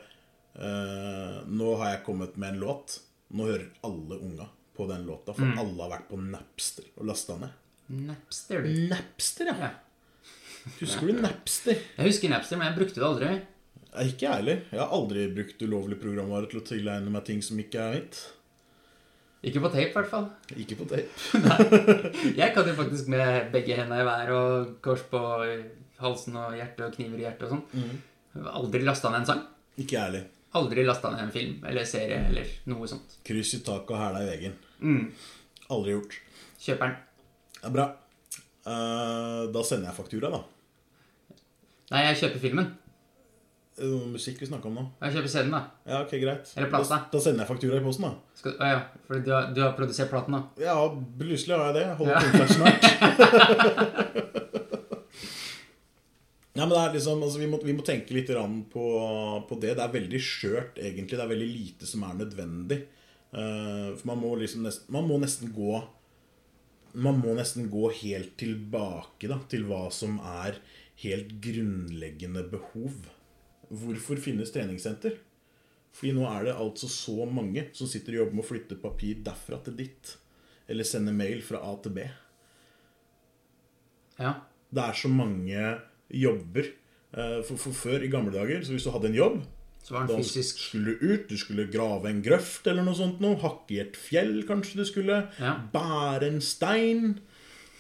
[SPEAKER 1] eh, Nå har jeg kommet med en låt. Nå hører alle unga på den låta, for alle har vært på Napster og lasta ned.
[SPEAKER 2] Napster, du.
[SPEAKER 1] Napster, ja.
[SPEAKER 2] Ja.
[SPEAKER 1] Husker du Napster?
[SPEAKER 2] Jeg husker Napster, men jeg brukte det aldri.
[SPEAKER 1] Eh, Ikke jeg heller. Jeg har aldri brukt ulovlig programvare til å tilegne meg ting som ikke er mitt.
[SPEAKER 2] Ikke på tape, i hvert fall.
[SPEAKER 1] Ikke på tape.
[SPEAKER 2] Jeg kan jo faktisk med begge hendene i været og kors på halsen og hjerte og kniver i hjertet og sånn. Aldri lasta ned en sang.
[SPEAKER 1] Ikke jeg heller.
[SPEAKER 2] Aldri lasta ned en film eller serie eller noe sånt.
[SPEAKER 1] Kryss i taket og hæla i veggen. Mm. Aldri gjort.
[SPEAKER 2] Kjøper den.
[SPEAKER 1] Det er bra. Eh, da sender jeg faktura, da.
[SPEAKER 2] Nei, jeg kjøper filmen.
[SPEAKER 1] Eh, noe musikk vi snakka om nå.
[SPEAKER 2] Jeg kjøper CD-en, da.
[SPEAKER 1] Ja, ok, greit.
[SPEAKER 2] Eller plata.
[SPEAKER 1] Da, da sender jeg faktura i posten, da.
[SPEAKER 2] Skal, å ja, for du har, du har produsert platen, da.
[SPEAKER 1] Ja, plutselig har jeg det. Jeg Holder
[SPEAKER 2] Ja.
[SPEAKER 1] kontakt snart. Nei, men det er liksom, altså, vi, må, vi må tenke litt grann på, på det. Det er veldig skjørt, egentlig. Det er veldig lite som er nødvendig. Eh, for man må liksom nesten, man må nesten gå Man må nesten gå helt tilbake da, til hva som er helt grunnleggende behov. Hvorfor finnes treningssenter? Fordi nå er det altså så mange som sitter og jobber med å flytte papir derfra til ditt. Eller sende mail fra A til B.
[SPEAKER 2] Ja.
[SPEAKER 1] Det er så mange jobber. Eh, For, for før, i gamle dager, så hvis du hadde en jobb
[SPEAKER 2] Så var
[SPEAKER 1] da
[SPEAKER 2] den fysisk
[SPEAKER 1] skulle du ut, du skulle grave en grøft eller noe sånt noe. Hakke i et fjell, kanskje du skulle.
[SPEAKER 2] Ja.
[SPEAKER 1] Bære en stein.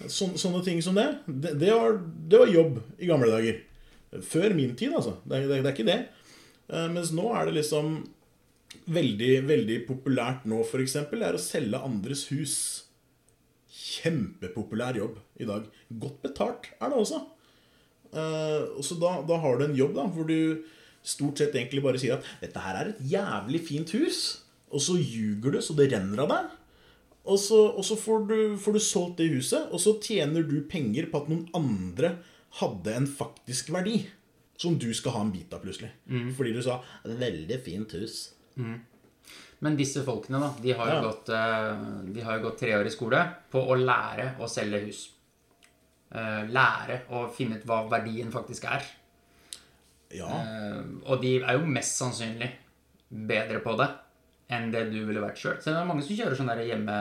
[SPEAKER 1] Sån, sånne ting som det. Det, det, var, det var jobb i gamle dager. Før min tid, altså. Det, er- det, er- det er ikke det. Eh, mens nå er det liksom veldig, veldig populært nå, f.eks., er å selge andres hus. Kjempepopulær jobb i dag. Godt betalt er det også. Eh, og så da, da har du en jobb da, hvor du stort sett egentlig bare sier at dette her er et jævlig fint hus, og så ljuger du så det renner av deg. Og så, og så får, du, får du solgt det huset, og så tjener du penger på at noen andre hadde en faktisk verdi. Som du skal ha en bit av, plutselig. Fordi du sa 'veldig fint hus'.
[SPEAKER 2] Men disse folkene, da, de har jo,
[SPEAKER 1] Ja.
[SPEAKER 2] gått, eh, de har jo gått tre år i skole på å lære å selge hus. Eh, Lære å finne ut hva verdien faktisk er.
[SPEAKER 1] Ja,
[SPEAKER 2] Eh, Og de er jo mest sannsynlig bedre på det enn det du ville vært sjøl. Så det er mange som kjører sånn der hjemme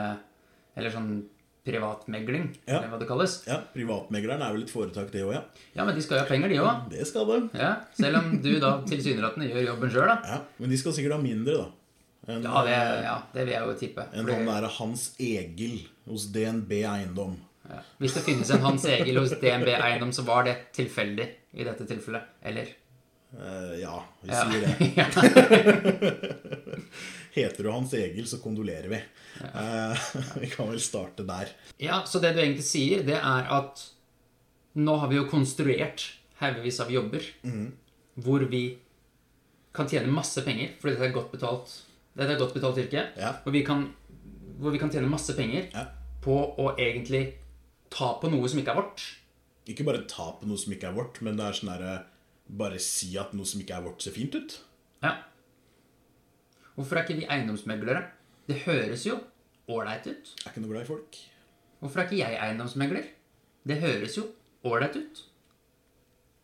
[SPEAKER 2] Eller sånn privatmegling,
[SPEAKER 1] Ja.
[SPEAKER 2] eller hva det kalles.
[SPEAKER 1] ja Privatmegleren er vel et foretak, det òg, ja.
[SPEAKER 2] Ja, men de skal jo ha penger, de òg.
[SPEAKER 1] Det skal det.
[SPEAKER 2] Ja, selv om du da tilsynelatende gjør jobben sjøl, da.
[SPEAKER 1] Ja, men de skal sikkert ha mindre, da. enn-
[SPEAKER 2] Ja det, ja, det vil jeg jo tippe.
[SPEAKER 1] enn
[SPEAKER 2] Fordi-
[SPEAKER 1] han derre Hans Egil hos DNB Eiendom.
[SPEAKER 2] Ja. Hvis det finnes en Hans Egil hos DNB Eiendom, så var det tilfeldig i dette tilfellet. Eller?
[SPEAKER 1] Eh, ja, vi
[SPEAKER 2] Ja.
[SPEAKER 1] sier det.
[SPEAKER 2] Ja.
[SPEAKER 1] Heter du Hans Egil, så kondolerer vi. Eh, vi kan vel starte der.
[SPEAKER 2] ja, så det du egentlig sier, det er at nå har vi jo konstruert haugevis av jobber
[SPEAKER 1] Mm.
[SPEAKER 2] hvor vi kan tjene masse penger, fordi dette er godt betalt, dette er godt betalt yrke,
[SPEAKER 1] Ja.
[SPEAKER 2] hvor, vi kan, hvor vi kan tjene masse penger
[SPEAKER 1] Ja.
[SPEAKER 2] på å egentlig ta på noe som ikke er vårt.
[SPEAKER 1] Ikke bare ta på noe som ikke er vårt, men det er sånn derre Bare si at noe som ikke er vårt, ser fint ut.
[SPEAKER 2] Ja. Hvorfor er ikke vi eiendomsmeglere? Det høres jo ålreit ut.
[SPEAKER 1] Jeg er ikke noe glad i folk.
[SPEAKER 2] Hvorfor er ikke jeg eiendomsmegler? Det høres jo ålreit ut.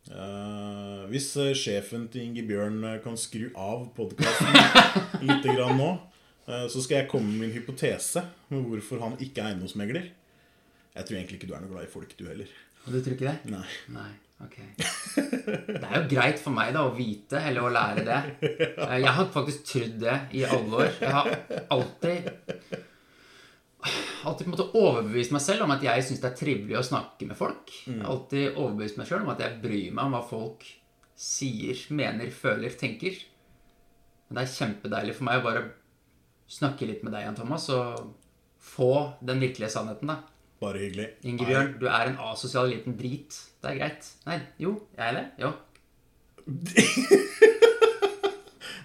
[SPEAKER 1] Eh, hvis eh, sjefen til Inge Bjørn eh, kan skru av podkasten lite grann nå, eh, så skal jeg komme med min hypotese med hvorfor han ikke er eiendomsmegler. Jeg tror egentlig ikke du er noe glad i folk, du heller.
[SPEAKER 2] Og du tror ikke det?
[SPEAKER 1] Nei.
[SPEAKER 2] Nei, ok. Det er jo greit for meg da å vite, eller å lære det. Eh, Jeg har faktisk trodd det i alle år. Jeg har alltid alltid på en måte overbevist meg selv om at jeg syns det er trivelig å snakke med folk. Jeg har alltid overbevist meg selv om at jeg bryr meg om hva folk sier, mener, føler, tenker. Men det er kjempedeilig for meg å bare snakke litt med deg, Jan Thomas, og få den virkelige sannheten, da.
[SPEAKER 1] Bare hyggelig.
[SPEAKER 2] Ingebjørn, du er en asosial liten drit. Det er greit. Nei, jo, jeg er det. Jo.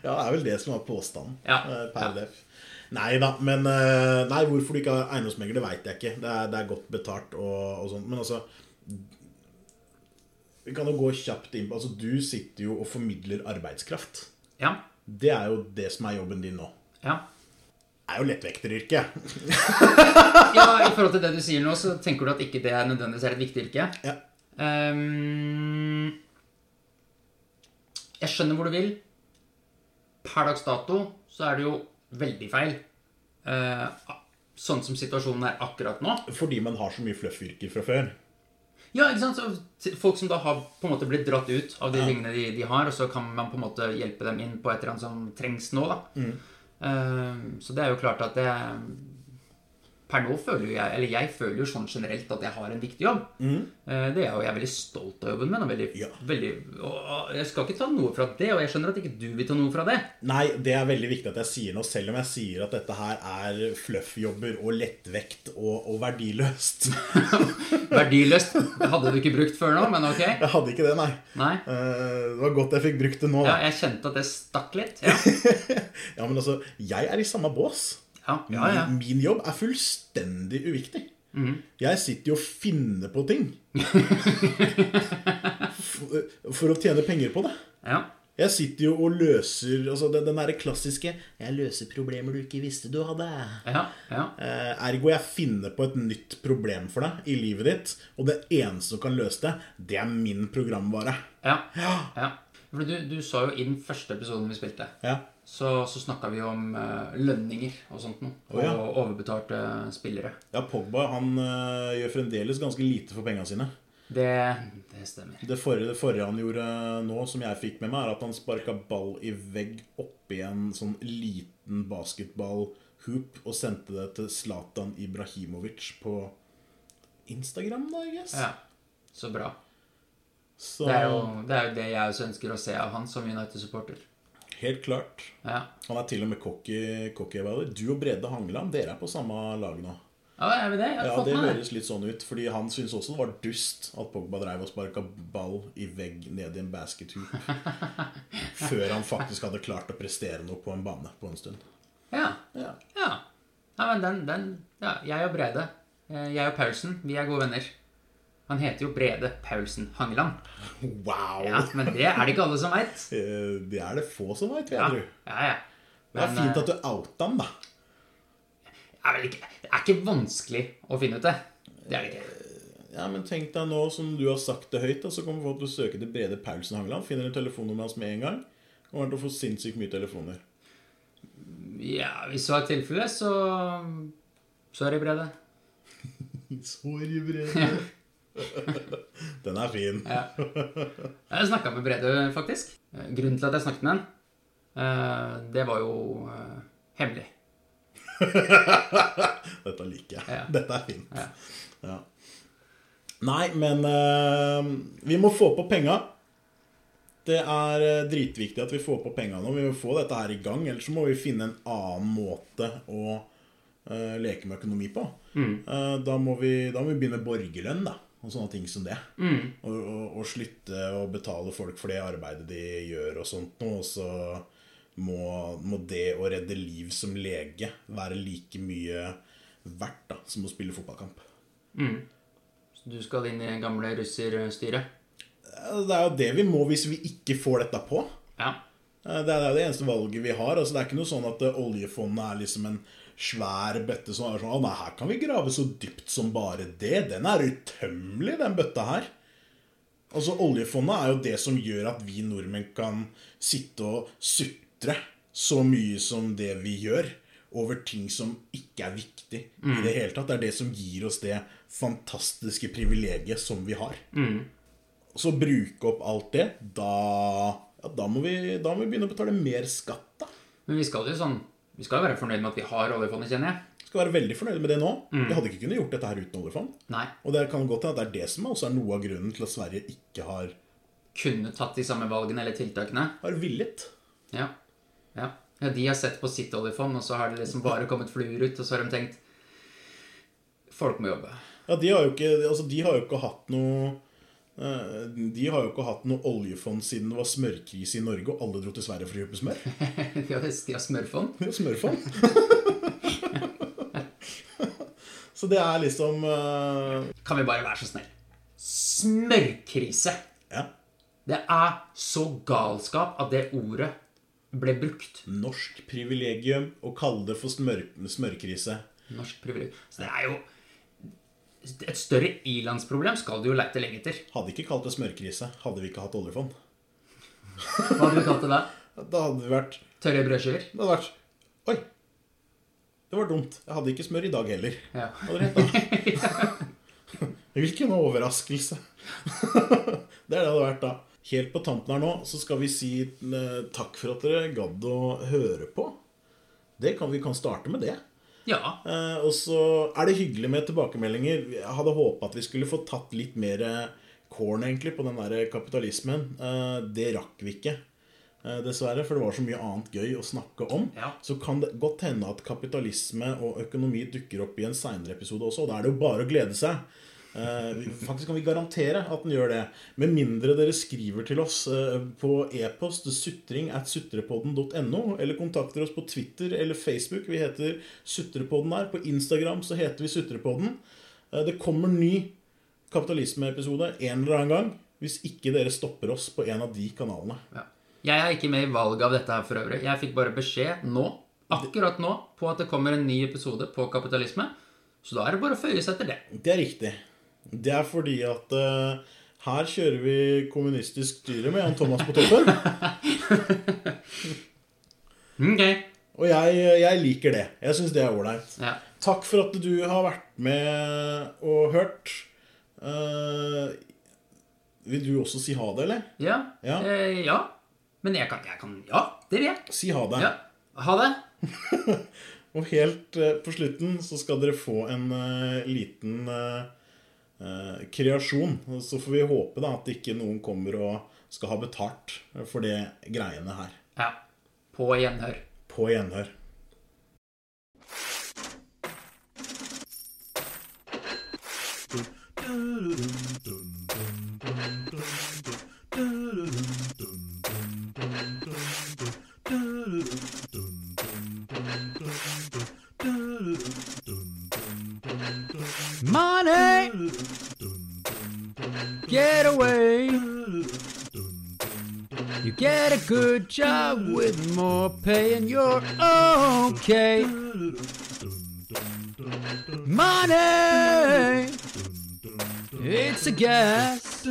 [SPEAKER 1] Ja, det er vel det som var påstanden.
[SPEAKER 2] Ja.
[SPEAKER 1] eh, Per
[SPEAKER 2] Ja.
[SPEAKER 1] def. Nei da, men eh, Nei, hvorfor du ikke har eiendomsmegler, det veit jeg ikke. Det er, det er godt betalt og, og sånt. Men altså Vi kan jo gå kjapt inn på Altså, du sitter jo og formidler arbeidskraft.
[SPEAKER 2] Ja.
[SPEAKER 1] Det er jo det som er jobben din nå.
[SPEAKER 2] ja.
[SPEAKER 1] Det er jo lettvekteryrket.
[SPEAKER 2] Ja, I forhold til det du sier nå, så tenker du at ikke det er nødvendigvis er et viktig yrke.
[SPEAKER 1] Ja.
[SPEAKER 2] Ehm, jeg skjønner hvor du vil. Per dags dato så er det jo veldig feil. Eh, sånn som situasjonen er akkurat nå.
[SPEAKER 1] Fordi man har så mye fluffyrker fra før.
[SPEAKER 2] Ja, ikke sant? Så t- folk som da har på en måte blitt dratt ut av de tingene de, de har, og så kan man på en måte hjelpe dem inn på et eller annet som trengs nå, da. Eh, så det er jo klart at det Per nå føler jo jeg, eller jeg føler jo sånn generelt at jeg har en viktig jobb. Eh, det er jo jeg er veldig stolt av jobben min. Og, veldig,
[SPEAKER 1] Ja.
[SPEAKER 2] veldig, og, og jeg skal ikke ta noe fra det, og jeg skjønner at ikke du vil ta noe fra det.
[SPEAKER 1] Nei, det er veldig viktig at jeg sier noe, selv om jeg sier at dette her er fluffjobber og lettvekt og, og verdiløst.
[SPEAKER 2] Verdiløst. Det hadde du ikke brukt før nå, men ok.
[SPEAKER 1] Jeg hadde ikke det, nei.
[SPEAKER 2] Nei.
[SPEAKER 1] Eh, det var godt jeg fikk brukt det nå.
[SPEAKER 2] Ja,
[SPEAKER 1] da.
[SPEAKER 2] jeg kjente at det stakk litt. Ja,
[SPEAKER 1] Ja, men altså, jeg er i samme bås.
[SPEAKER 2] ja, ja. ja.
[SPEAKER 1] Min,
[SPEAKER 2] Mhm.
[SPEAKER 1] min jobb er fullstendig uviktig. Jeg sitter jo og finner på ting for, eh, for å tjene penger på det.
[SPEAKER 2] ja.
[SPEAKER 1] Jeg sitter jo og løser altså den, den der klassiske 'Jeg løser problemer du ikke visste du hadde'.
[SPEAKER 2] ja, ja.
[SPEAKER 1] Eh, ergo jeg finner på et nytt problem for deg i livet ditt, og det eneste som kan løse det, det er min programvare.
[SPEAKER 2] Ja. ja. For du, du sa jo i den første episoden vi spilte,
[SPEAKER 1] Ja.
[SPEAKER 2] så, så snakka vi om eh, lønninger og sånt noe. Og
[SPEAKER 1] Å, ja.
[SPEAKER 2] overbetalte spillere.
[SPEAKER 1] Ja, Pogba han øh, gjør fremdeles ganske lite for pengene sine.
[SPEAKER 2] Det, det stemmer.
[SPEAKER 1] Det forrige, det forrige han gjorde eh, nå, som jeg fikk med meg, er at han sparka ball i vegg oppi en sånn liten basketball-hoop og sendte det til Zlatan Ibrahimovic på Instagram, da, I guess.
[SPEAKER 2] Ja, Så bra.
[SPEAKER 1] Så
[SPEAKER 2] Det er, jo, det er jo det jeg også ønsker å se av han som United-supporter.
[SPEAKER 1] helt klart.
[SPEAKER 2] Ja.
[SPEAKER 1] Han er til og med cocky cocky about it. Du og Brede Hangeland, dere er på samme lag nå.
[SPEAKER 2] ja, er vi det? Jeg har
[SPEAKER 1] Ja,
[SPEAKER 2] fått
[SPEAKER 1] Det
[SPEAKER 2] med det.
[SPEAKER 1] høres litt sånn ut, fordi han syntes også det var dust at Pogba dreiv og sparka ball i vegg ned i en basket hoop før han faktisk hadde klart å prestere noe på en bane på en stund.
[SPEAKER 2] Ja.
[SPEAKER 1] Ja.
[SPEAKER 2] ja. Nei, men den, den ja, Jeg og Brede, eh, jeg og Paulsen, vi er gode venner. Han heter jo Brede Paulsen Hangeland.
[SPEAKER 1] Wow!
[SPEAKER 2] Ja, men det er det ikke alle som veit.
[SPEAKER 1] Eh, Det er det få som veit, vil
[SPEAKER 2] Ja,
[SPEAKER 1] jeg tro.
[SPEAKER 2] ja, ja.
[SPEAKER 1] Det er
[SPEAKER 2] Men,
[SPEAKER 1] fint
[SPEAKER 2] eh,
[SPEAKER 1] at du outa han, da.
[SPEAKER 2] det er vel ikke, det er ikke vanskelig å finne ut det. Det er det ikke.
[SPEAKER 1] Ja, men tenk deg nå som du har sagt det høyt, da, så kommer folk til å søke til Brede Paulsen Hangeland. Finner du telefonnummeret hans med en gang, kommer han til å få sinnssykt mye telefoner.
[SPEAKER 2] Ja, Hvis det var tilfellet, så Sorry, Brede.
[SPEAKER 1] Sorry, Brede. Den er fin.
[SPEAKER 2] Jeg snakka med Brede, faktisk. Eh, Grunnen til at jeg snakket med han, eh, det var jo eh, hemmelig.
[SPEAKER 1] Dette liker jeg.
[SPEAKER 2] Ja.
[SPEAKER 1] Dette er fint. Ja. Nei, men eh, vi må få på penga. Det er eh, dritviktig at vi får på penga nå. Vi må få dette her i gang. Ellers så må vi finne en annen måte å eh, leke med økonomi på. Eh, da, må vi, da må vi begynne med borgerlønn da, og sånne ting som det. Og, og, og slutte å betale folk for det arbeidet de gjør og sånt noe. Og så må, må det å redde liv som lege være like mye verdt da, som å spille fotballkamp.
[SPEAKER 2] Så du skal inn i gamle russerstyret?
[SPEAKER 1] Eh, Det er jo det vi må hvis vi ikke får dette på.
[SPEAKER 2] Ja.
[SPEAKER 1] Eh, Det er det er det eneste valget vi har. Altså, det er ikke noe sånn at eh, oljefondet er liksom en svær bøtte som er sånn «Å, Nei, her kan vi grave så dypt som bare det. Den er utømmelig, den bøtta her. Altså, oljefondet er jo det som gjør at vi nordmenn kan sitte og sutre så mye som det vi gjør, over ting som ikke er viktig i det hele tatt. Det er det som gir oss det fantastiske privilegiet som vi har. Og så bruke opp alt det, da, ja, da, må vi, da må vi begynne å betale mer skatt, da.
[SPEAKER 2] Men vi skal jo sånn Vi skal jo være fornøyd med at vi har oljefondet, kjenner jeg.
[SPEAKER 1] Skal være veldig fornøyd med det nå. Vi hadde ikke kunnet gjort dette her uten oljefond.
[SPEAKER 2] Nei.
[SPEAKER 1] Og det kan godt hende at det er det som også er noe av grunnen til at Sverige ikke har,
[SPEAKER 2] Kunne tatt de samme valgene eller tiltakene.
[SPEAKER 1] har villet.
[SPEAKER 2] Ja. ja. Ja, De har sett på sitt oljefond, og så har det liksom bare kommet fluer ut, og så har de tenkt Folk må jobbe.
[SPEAKER 1] Ja, de har jo ikke, altså, de har jo ikke hatt noe eh, de har jo ikke hatt noe oljefond siden det var smørkrise i Norge, og alle dro til Sverige for å kjøpe smør.
[SPEAKER 2] De har, de har smørfond.
[SPEAKER 1] Smørfond. Så det er liksom eh,
[SPEAKER 2] Kan vi bare være så snill? Smørkrise!
[SPEAKER 1] Ja,
[SPEAKER 2] Det er så galskap at det ordet ble brukt.
[SPEAKER 1] norsk privilegium å kalle det for smør, smørkrise.
[SPEAKER 2] Norsk privilegium. Så det er jo Et større i-landsproblem skal du jo lete lenge etter.
[SPEAKER 1] Hadde ikke kalt det smørkrise, hadde vi ikke hatt oljefond.
[SPEAKER 2] Hva hadde du kalt det da?
[SPEAKER 1] Da hadde vi vært
[SPEAKER 2] Tørre brødskiver?
[SPEAKER 1] Det hadde vært Oi! Det var dumt. Jeg hadde ikke smør i dag heller.
[SPEAKER 2] Ja.
[SPEAKER 1] Hadde rett da. Hvilken overraskelse. det er det det hadde vært da. Helt på tampen her nå så skal vi si eh, takk for at dere gadd å høre på. Det kan, vi kan starte med det.
[SPEAKER 2] ja.
[SPEAKER 1] Eh, og så er det hyggelig med tilbakemeldinger. Jeg hadde håpa at vi skulle få tatt litt mer eh, corn egentlig på den der kapitalismen. Eh, det rakk vi ikke, eh, dessverre, for det var så mye annet gøy å snakke om.
[SPEAKER 2] Ja.
[SPEAKER 1] Så kan det godt hende at kapitalisme og økonomi dukker opp i en seinere episode også, og da er det jo bare å glede seg. Eh, vi- faktisk kan vi garantere at den gjør det. Med mindre dere skriver til oss eh, på e-post sutring at sutrepodden.no, eller kontakter oss på Twitter eller Facebook. Vi heter Sutrepodden der. På Instagram så heter vi Sutrepodden. Eh, det kommer ny kapitalismeepisode en eller annen gang. Hvis ikke dere stopper oss på en av de kanalene.
[SPEAKER 2] ja. Jeg er ikke med i valget av dette her for øvrig. Jeg fikk bare beskjed nå, akkurat nå, på at det kommer en ny episode på kapitalisme. Så da er det bare å føye seg etter det.
[SPEAKER 1] Det er riktig. Det er fordi at eh, her kjører vi kommunistisk styre med Jan Thomas på toppen.
[SPEAKER 2] Ok.
[SPEAKER 1] Og jeg, jeg liker det. Jeg syns det er ålreit.
[SPEAKER 2] Ja.
[SPEAKER 1] Takk for at du har vært med og hørt. Eh, vil du også si ha det, eller?
[SPEAKER 2] Ja.
[SPEAKER 1] Ja.
[SPEAKER 2] Eh, ja. Men jeg kan, jeg kan Ja, det vil jeg.
[SPEAKER 1] Si ha det.
[SPEAKER 2] Ja. Ha det.
[SPEAKER 1] Og helt eh, på slutten så skal dere få en eh, liten eh, eh, kreasjon. Og Så får vi håpe da at ikke noen kommer og skal ha betalt for det greiene her.
[SPEAKER 2] Ja. På gjenhør.
[SPEAKER 1] På gjenhør.
[SPEAKER 3] Money! Get away! You get a good job with more pay and you're okay. Money! It's a gas.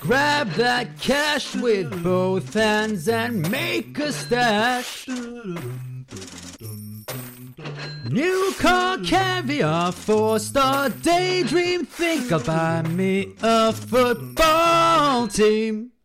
[SPEAKER 3] Grab that cash with both hands and make a stash. New car caviar, four star daydream. Think I'll buy me a football team.